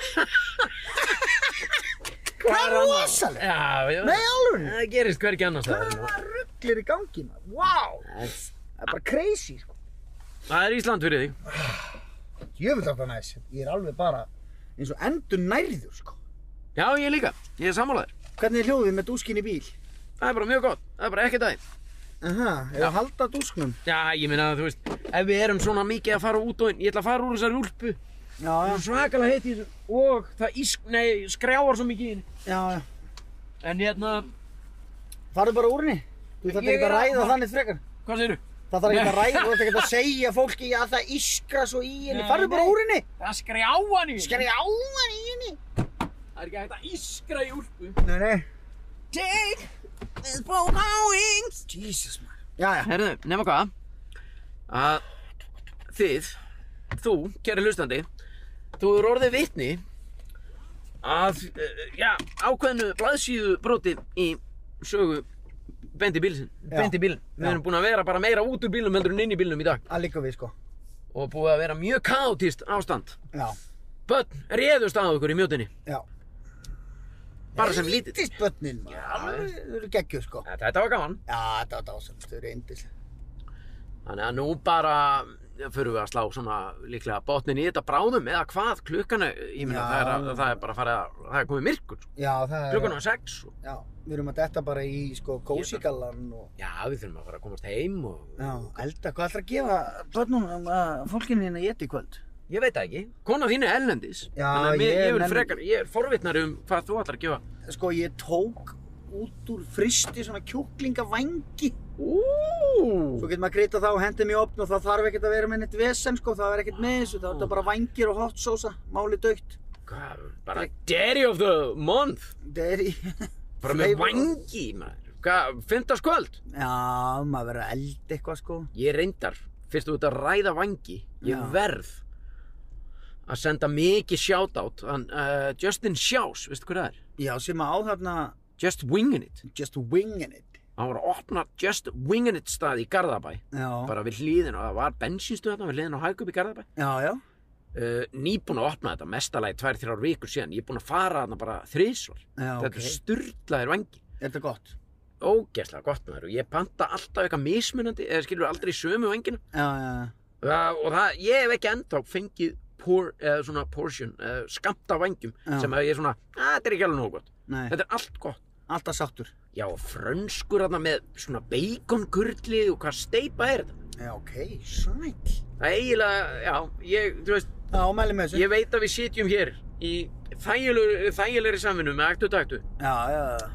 Hvað er rosalega? Já, já. Nei, alveg, Það gerist hvergi annars hérna. hvað það. var rugglir í gangi maður? Wow, það er bara crazy sko. Það er Ísland fyrir þig. Jöfnveld að það er næs, ég er alveg bara eins og endur nærður sko Já, ég líka. Ég er sammálaður. Hvernig er hljóðið með dúskin í bíl? Það er bara mjög gott. Það er bara ekkert aðeins. Aha, er að halda dúsknum? Já, ég meina þú veist, ef við erum svona mikið að fara út og inn, ég ætla að fara úr þessari úlpu. Já, Það já, er svakalega heitt í þessu og það ísk, nei, skrjáar svo mikið inn. já, já. En hérna, Farðu bara úr henni. Þú þarf Ég ekki að er að- ræða þannig frekar. hvað segirðu? Það þarf ekki að ræða, þú þarf ekki að segja fólki að það ískra svo í henni. Nei, Farðu bara nei. úr henni. Það er skrjáan í henni. Skerði áman í henni. Það er ekki hægt að ískra í úlpu. Nei, nei. Take this boat going. Jesus, man. Já, já. Herðu, nema hvað, að þið, þú, kæri hlustandi, þú eru orðið vitni að, uh, já, ákveðnu blaðsíðu broti í sögu bendi bílsinn, Já. bendi bílinn. Við Já. erum búin að vera bara meira út úr bílnum heldur en inn í bílnum í dag Að líka við, sko. og búið að vera mjög kaotist ástand. Já, Bönn réðust að okkur í mjótinni, já. bara sem lítið. Lítist börnin, maður. Alveg, þau eru geggjuð, sko. Ja, Þetta var gaman. Já, þetta var dásamt. Þau eru eindislega. Þannig að nú bara fyrir við að slá svona líklega botnin í þetta bráðum eða hvað klukkanu, ég meina Já. það, er að- það er bara farið að, það er komið myrkur, sko. Já, það er... klukkan var sex og Já, við erum að detta bara í, sko, kósigallan og... já við þurfum að fara að komast heim og Já, elda, hvað ætlar að gefa börnum að fólkinu hérna geti í kvöld? ég veit það ekki, kona þín er ellendis, Já, að mér- ég er ég, vil nenni- frekar, ég er forvitnari um hvað þú ætlar að gefa. Sko, ég tók út úr fristi svona kjúklingavængi. Svo Úúúú, getur maður að greita þá og hendi mér í opn og það þarf ekkert að vera með neitt vesen, sko, það er ekkert með þessu, það er þetta bara vængir og hot sósa, máli dautt. bara dairy of the month, Það er í... bara með Flavor. vangi maður, hvað, fymtaskvöld, Já, maður verður að elda eitthvað, sko. ég reyndar, fyrst þú ert að ræða vangi, ég Já. verð að senda mikið shoutout, hann, uh, Justin Sjás, veistu hver það er? Já, sem að á þarna Just winging it, just winging it. hann var að opna Just Wingin' It stað í Garðabæ já, bara við hlýðin og það var bensinstu þetta við hliðin á Hægum í Garðabæ já, já. uh, nýbúin að opna þetta mestalagi tvær, þrjár vikur síðan ég er búin að fara þarna bara þriðsvar já þetta ok. okay. sturlaðir vangi Er þetta gott? ógeðslega gott maður og ég panta alltaf eitthvað mismunandi eða skilur aldrei sömu vangina Já, já, já. Já, og það, ég hef ekki ennþá fengið por, eða svona portion, eða skammt af vangjum Já. sem að ég er svona, að þetta er ekki alveg nógu gott Nei, þetta er allt gott alltaf sáttur. já, og frönskur þarna með svona beikonkurli og hvað steipa er þetta Já, ok, sæl. það er eiginlega, já, ég, þú veist Já, mæli með þessu. ég veit að við sitjum hér í þægilegri, þægilegri samvinnu með aktu taktu Já, já, já.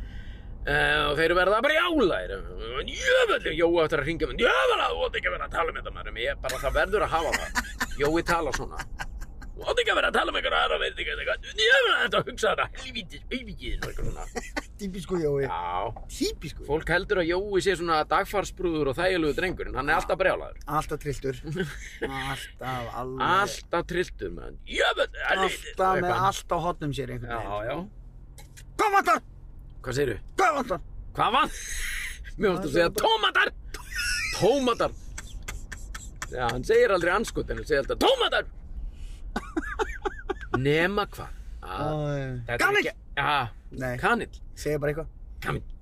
Uh, og þeir verða bara jálæðir Jöfnveldur, Jói eftir að ringa Jöfnveldur, þú átt ekki að vera að tala um þetta maður En ég bara, það verður að hafa það Jói tala svona Þú átt ekki að vera að tala um einhverja aðra veit ekki Jöfnveldur, þetta hugsa þetta helvítis Bíbíkið, eitthvað svona Típisku sko, Jói. Já, Típisku. fólk heldur að Jói sé svona dagfarsbrúður og þægilegu drengur En hann er alltaf brjálæður Alltaf trilltur. Alltaf, alveg. Alltaf trilltur með hann Jöfnveldur, Alltaf með allt á hotnum sér einhvern Já, já, Hvað vantar? hvað segirðu? Hvað vantar? Hvað var? Mér varst að segja tómatar! Tómatar! Já, hann segir aldrei anskot en hann segir alltaf tómatar! Nema hvað? Ah, Æ. þetta er Kanill! ekki- Já, Nei, kanill. segja bara eitthvað. Kanill.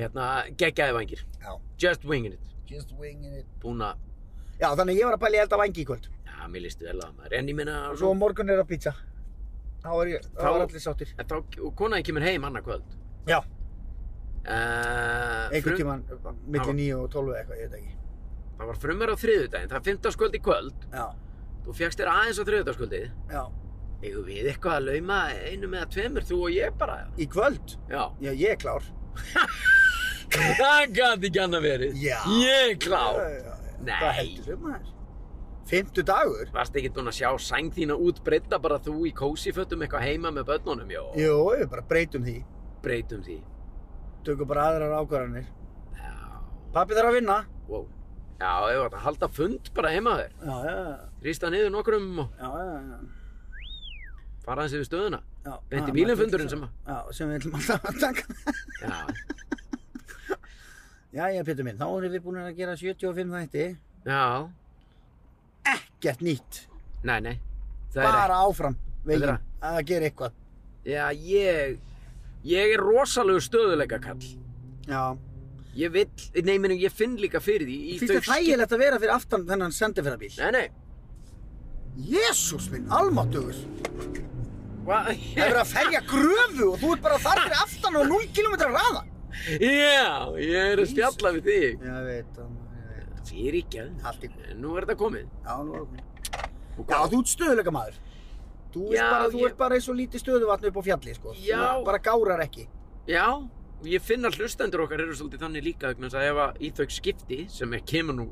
Hérna, geggjaði vangir. Já. Just winging it. Just winging it. Búin að, Já, þannig að ég var að pæla í elda vangi í kvöld. já, mér listu vel að maður. En ég minna, Svo á morgun er það pizza. Þá er ég, þá Þá- er allir sáttir. en þá, og konaði kemur heim annað kvöld. Já. Uh, Einhvern tíman Já. milli 9 og 12 eða eitthvað, ég veit ekki. Það var frumar á þriðudaginn, það er fimmtaskvöld í kvöld. Já, Þú fjagst þér aðeins á þriðudagskvöldið. já. Eigum við eitthvað að lauma einum eða tveimur, þú og ég bara? Í kvöld? Já. Já, ég er klár. Það gæti ekki annað verið. Já. Ég er klár. Já, já, já. Nei. Hvað heldur þau maður? Fymtu dagur? Varst ekki búin að sjá sæng þína útbreyta bara þú í kósifötum eitthvað heima með börnunum, já. Jú, við bara breytum því. Breytum því. Tökum bara aðrar ákvarðanir. Já. Pappi þarf að vinna. Wow. Já, ef þetta halda fund bara heima þér. Já, já, Rýsta niður nokkrum og já, já, já. fara hans yfir stöðuna. já. Beint Já, í bílinn maður fundurinn vill- sem að... Já, sem við ætlum alltaf að taka. Já. Já, já, Pétur minn, þá erum við búin að gera 75 þætti. Já. Gert nýtt. Nei, nei. Það er Bara áfram veginn Þetta að gera eitthvað. ekki. Já, ég... Ég er rosalegu stöðuleika kall. Já. Ég vill, nei, meni, ég finn líka fyrir því í Fyrst þau það þægilegt að vera fyrir aftan þennan sendiferðabíl. Nei, nei, Jésús minn, almáttugur. Það hvað? er verið að ferja gröfu og þú ert bara þar fyrir aftan og 0 km raða. Já, ég er að spjalla við þig. Já, ég veit, það, ég veit. Fyrir ekki að, Allt í góð. nú er þetta komið. Já, nú erum við. Og Já, hvað? þú ert stöðuleika maður. Þú ert Já, bara, þú ég- ert bara eins og lítið stöðuvatn upp á fjalli, sko. Þú Já. bara gárar ekki. Já, og ég finn að hlustendur okkar eru svolítið þannig líka vegna þess að ef að í þau skipti sem ég kemur nú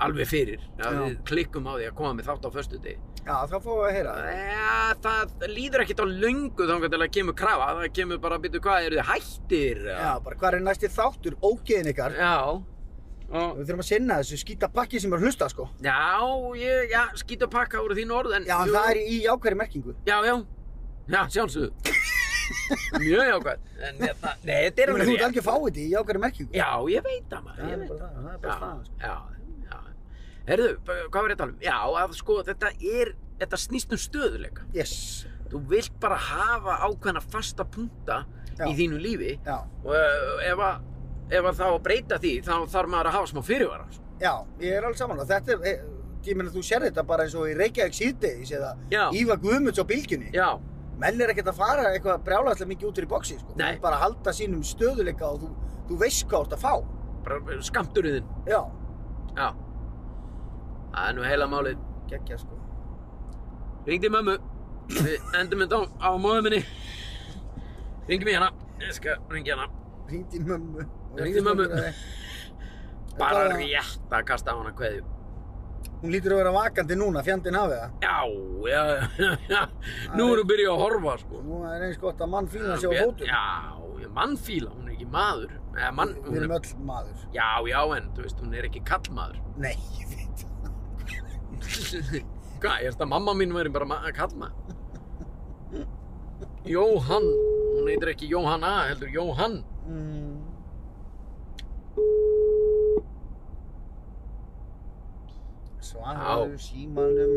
alveg fyrir, að Já. við klikkum á því að koma með þátt á föstudegi. Já, þá fáum við að heyra það. Já, það líður ekkert á löngu þangar til að kemur krafa, það kemur bara að byrja hvað eru þið hættir? Já, bara hvað er næsti þáttur, ógeðin ykkar. Já. Og Við þurfum að sinna þessu skýta pakki sem er að hlusta, sko. Já, ég, já, skýt að pakka úr þín orð en Já, en jú, það er í ákveðri merkingu. Já, já, já, sjálfsögðu Mjög jákvæð En þetta, nei, þetta er Ég meina, Þú ert rétt. algjör fáið í ákveðri merkingu. Já, ég veit það maður, Það ég er veit bara það það, það er bara staðan, sko. Já, já, já Herðu, b- hvað var ég að tala um? Já, að sko, þetta er, þetta snýst um stöðuleika sko. Yes. Þú vilt bara hafa ákveðna fasta punta Já. í þínu lífi Já. og eh, ef að, ef að þá að breyta því þá þarf maður að hafa smá fyrirvara sko. Já, ég er alveg saman. Þetta er, eh, ég meina, þú sér þetta bara eins og í Reykjavík síðdegis eða Já, Ívar Guðmunds á bylgjunni. já, menn er ekkert að fara eitthvað brjálæðslega mikið út fyrir bóksi sko. Nei. bara að halda sínum stöðuleika og þú, þú veist hvað þú ert að fá bara skamturinn þinn já, Já Það er nú heila málið geggja sko Ringdi mömmu Við endum þetta á, á móðu minni Ringi mig hana Ég skal hérna. ringi hana ringdi mömmu og Hringdu í ringdi mömmu. strákur að- Bara Bara- rétt að kasta á hana kveðju hún lítur að vera vakandi núna, fjandinn hafið það Já, já, já, já Nú erum við byrjuð að horfa sko nú er eins gott að mann fíla sig á fótum Já, mannfíla, hún er ekki maður Eða mann, við hún erum er öll maður Já, já, en þú veist, hún er ekki kallmaður nei, ég veit Hvað, ég held að mamma mín væri bara ma- kallmaður Jóhann Hún heitir ekki Jóhanna, heldur Jóhann mm. svaraðu símanum.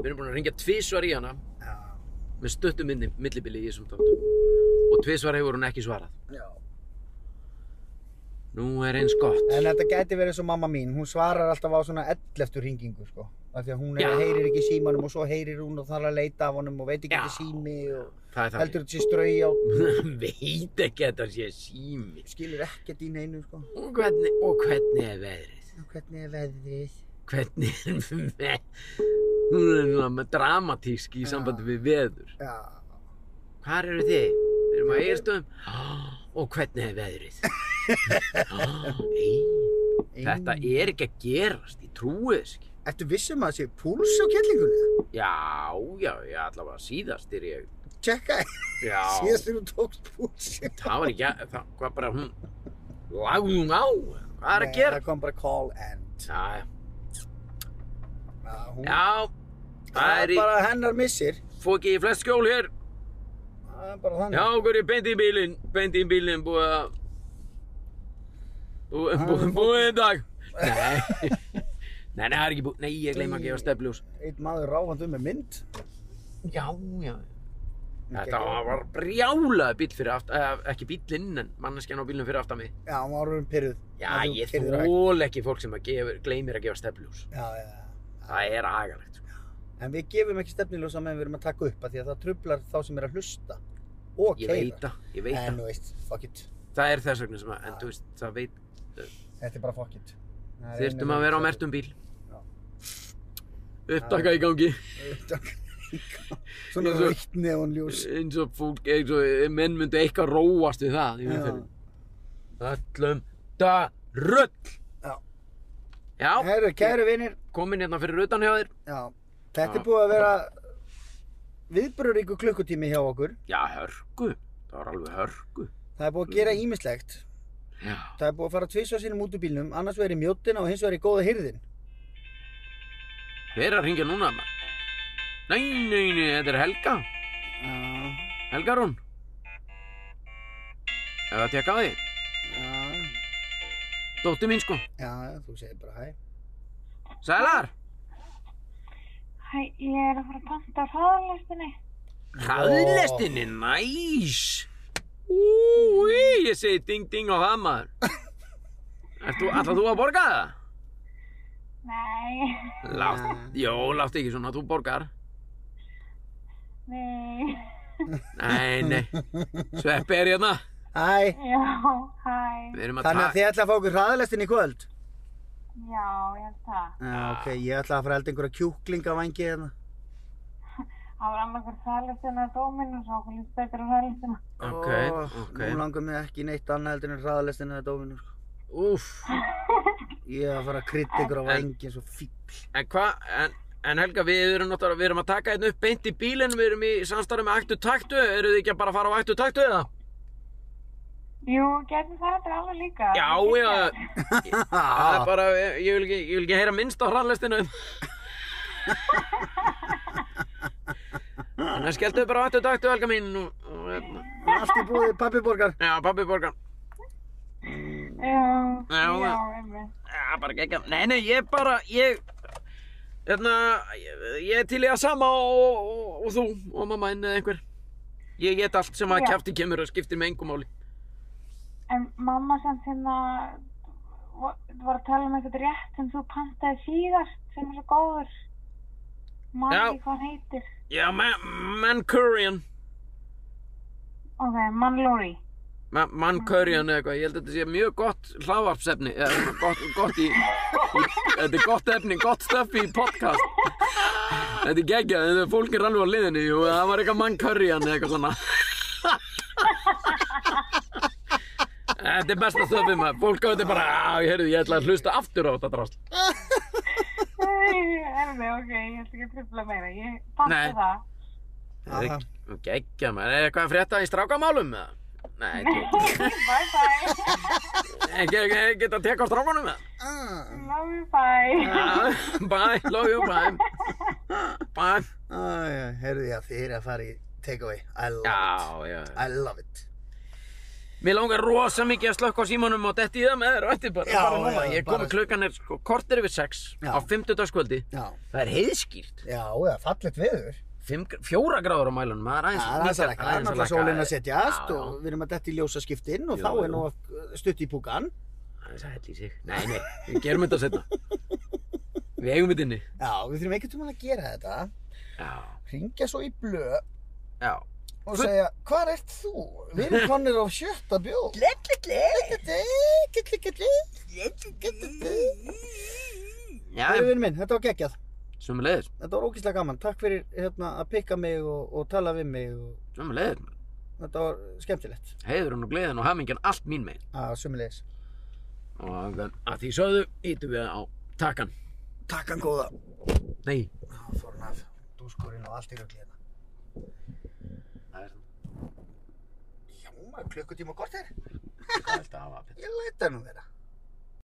Við erum búin að ringja tvísvar í hana Já, með stuttum minni, millibili í þessum þáttum og tvísvar hefur hún ekki svarað. já. Nú er eins gott. En þetta gæti verið svo mamma mín, hún svarar alltaf á svona 11 hringingu sko. Af því að hún er, Já. heyrir ekki í símanum og svo heyrir hún og þarf að leita af honum og veit ekki Já. að þetta er sími og Það er það. heldur þetta sé strau á, Veit ekki að það sé sími. skilur ekkert í neinu sko. Og hvernig, og hvernig er veðrið? Og Hvernig er veðrið? Hvernig er veðrið? Hún er náttúrulega dramatísk í sambandi við veður. Já, Hvar eru þið? Við erum á eigirstöðum. Og hvernig er veðrið? Ah, Ei, þetta er ekki að gerast, ég trúi þess ekki. Ertu vissum að það sé púls á kellingunni? Já, já, já, allavega síðast er ég. Tjekka, Já, síðast þegar þú tókst púls. það var ekki að, það var bara hún. Lágum á, hvað er að Nei, gera? það kom bara call end. Já, Já, hún, já, það það er er í, bara hennar missir. fókið í flest skjól hér. Það er bara þannig. Já, okkur er beint í bílinn, beint í bílinn búið að... Búið, búið, búið í dag. Nei, nei, nei, það er ekki búið. Nei, ég gleyma að gefa stefljós. Eitt maður ráfandi um með mynd. Já, já. Þetta var brjálaði bíl fyrir aftan, eh, ekki bílinn, en manneskjan á bílinn fyrir aftan mig. Já, hún var orðin pyrruð. Já, ég þól ekki fólk sem að gefur, gleymir að gefa stefljós. Já, já, já. Það er agalegt. sko. En við gefum ekki stefniljósa meðan við erum að taka upp af því að það trublar þá sem er að hlusta og Ég keyra. veit það, ég veit En það. þú veist, fuck it. Það er þess vegna sem að, en þú veist, það veit, Þetta er bara fuck it. Það er þurftum einu að vera á leið. mertum bíl. Já. Upptaka í gangi. Svona Ég svo- reykt neonljós. eins og fólk, eins og menn myndu eitthvað róast við það í Já. umferðin. Öllum það rull! Já. Eh. Já, Herru, kæru vinir. komin hérna fyrir utan hjá þér. Já. Þetta Já. er búið að vera viðbröðuríku klukkutími hjá okkur. Já, hörgu. Það var alveg hörgu. Það er búið að gera ýmislegt. Já. Það er búið að fara tvisvar sinnum út úr bílnum, annars verið í mjóttina og hins vegar í góða hirðin. Hver er að ringja núna? maður? Nei, nei, nei, þetta er Helga. Já, Helga Rún. Ef það tekka á því. já, Dóttir mín sko. já, þú segir bara hæ. Sælar! Hæ, ég er að fara að panta á hraðalestinni. Hraðlestinni, næs! Úi, ég segi ding ding á það maður. Ert þú, ætlað þú að borga það? Nei, Látt, jó, látt ekki svona, þú borgar. nei, Nei, nei, sveppi er hérna. Hæ, já, hæ, Við erum að þannig að þið ætla að fá okkur hraðalestin í kvöld? já, ég held það. Já, ok, ég ætla að fara að elda einhverja kjúklingavangi hérna. Það var annarkur hraðalestina að dóminu og svo okkur líst betur á hraðalestina. Ok, Ó, ok. Nú langar mig ekki í neitt annað heldur en hraðalestin eða dóminu. sko. Úf, Ég er að fara að krytta einhverja En- vangi eins og fíbl. en hvað, en, en Helga, við erum náttúrulega, við erum að taka hérna upp beint í bílinn, við erum í samstarfi með Aktu Taktu, eru þið ekki að bara fara á Aktu Taktu eða? Jú, getur það þetta alveg líka. Já, já, það er bara, ég, ég, vil ekki, ég vil ekki heyra minnst á hraðlestinu. Þannig að skelltu bara vattu taktu, Helga mín, og, og hérna. Allt í búið pappiborgar. Já, pabbi borgar. Já, Já, já, já. einmitt. Já, bara ekki, nei, nei, ég bara, ég, hérna, ég, ég er til í að sama og, og, og þú og mamma inn eða einhver. Ég get allt sem að Já. kæfti kemur og skiptir með engum máli. En mamma samt hérna, þú var að tala um eitthvað rétt sem þú pantaði síðast sem er svo góður. Man Já. ekki hvað hann heitir. Já, man, Mancurian, Ok, Manlóri. Ma- Mancurian eða eitthvað, ég held að þetta sé mjög gott hlaðvarpsefni, eða svona gott, gott í, í, þetta er gott efni, gott stöffi í podcast. Þetta er geggjað, þetta er fólk er alveg á liðinni og það var eitthvað Mancurian eða eitthvað svona. Þetta er besta stöffi maður, fólk á þetta bara, "Á, ég heyrðu, ég ætla að hlusta aftur á þetta drast. Erfi, ok, ég ætla ekki að tripla meira. Ég panta Nei. það. Þetta er geggjað maður, er eitthvað að frétta í strákamálum eða? Nei, ekki, Bye bye. ekki, ekki, geta að teka á strákanum eða? Love you, bye. Ah, bye, love you, bye. Bye. Æja, herðu ég að þið er að fara í takeaway. I love it. Já, já. I love it. Mér langar rosa mikið að slökka á símanum og detti í það með þér og eftir bara, Já, bara núna. já, Ég kom bara- klukkan er sko kortir yfir sex Já. á fimmtudagskvöldi. Já. Það er heiðskýrt. Já, eða fallet veður. Fimm, fjóra gráður á mælunum, maður aðeins Það er aðeins að minnkar- lækka, það er náttúrulega lækka sólinn að aðeins. setjast Já, já. og við erum að detti í ljósaskiptinn og Jú, þá er jú. nú að stutt í púkan. Aðeins að hella í sig. Nei, nei, við gerum þetta setna. Við eigum þetta inni. Já, við þurfum einhvern veginn að gera þetta. Já, Ringja svo í blöð já. og Full- segja, hvar ert þú? Við erum konir á sjötta bjóð. Lelli, lelli, lelli. Já, Það er vinn minn, þetta var geggjað. sömulegðir, Þetta var ógíslega gaman. Takk fyrir hérna, að pikka mig og, og tala við mig. Og... sömulegðir. Þetta var skemmtilegt. Heiðurinn og gleðin og hamingjan allt mín megin. Að sömulegis. Og að því sögðu, ítum við á takkan. Takk hann góða. Nei, Það fór hann af dúskurinn og allt í rögli hérna. það er Já, maður, klukkutíma og kortir. hvað viltu hafa að byrja? Ég læta nú þeirra.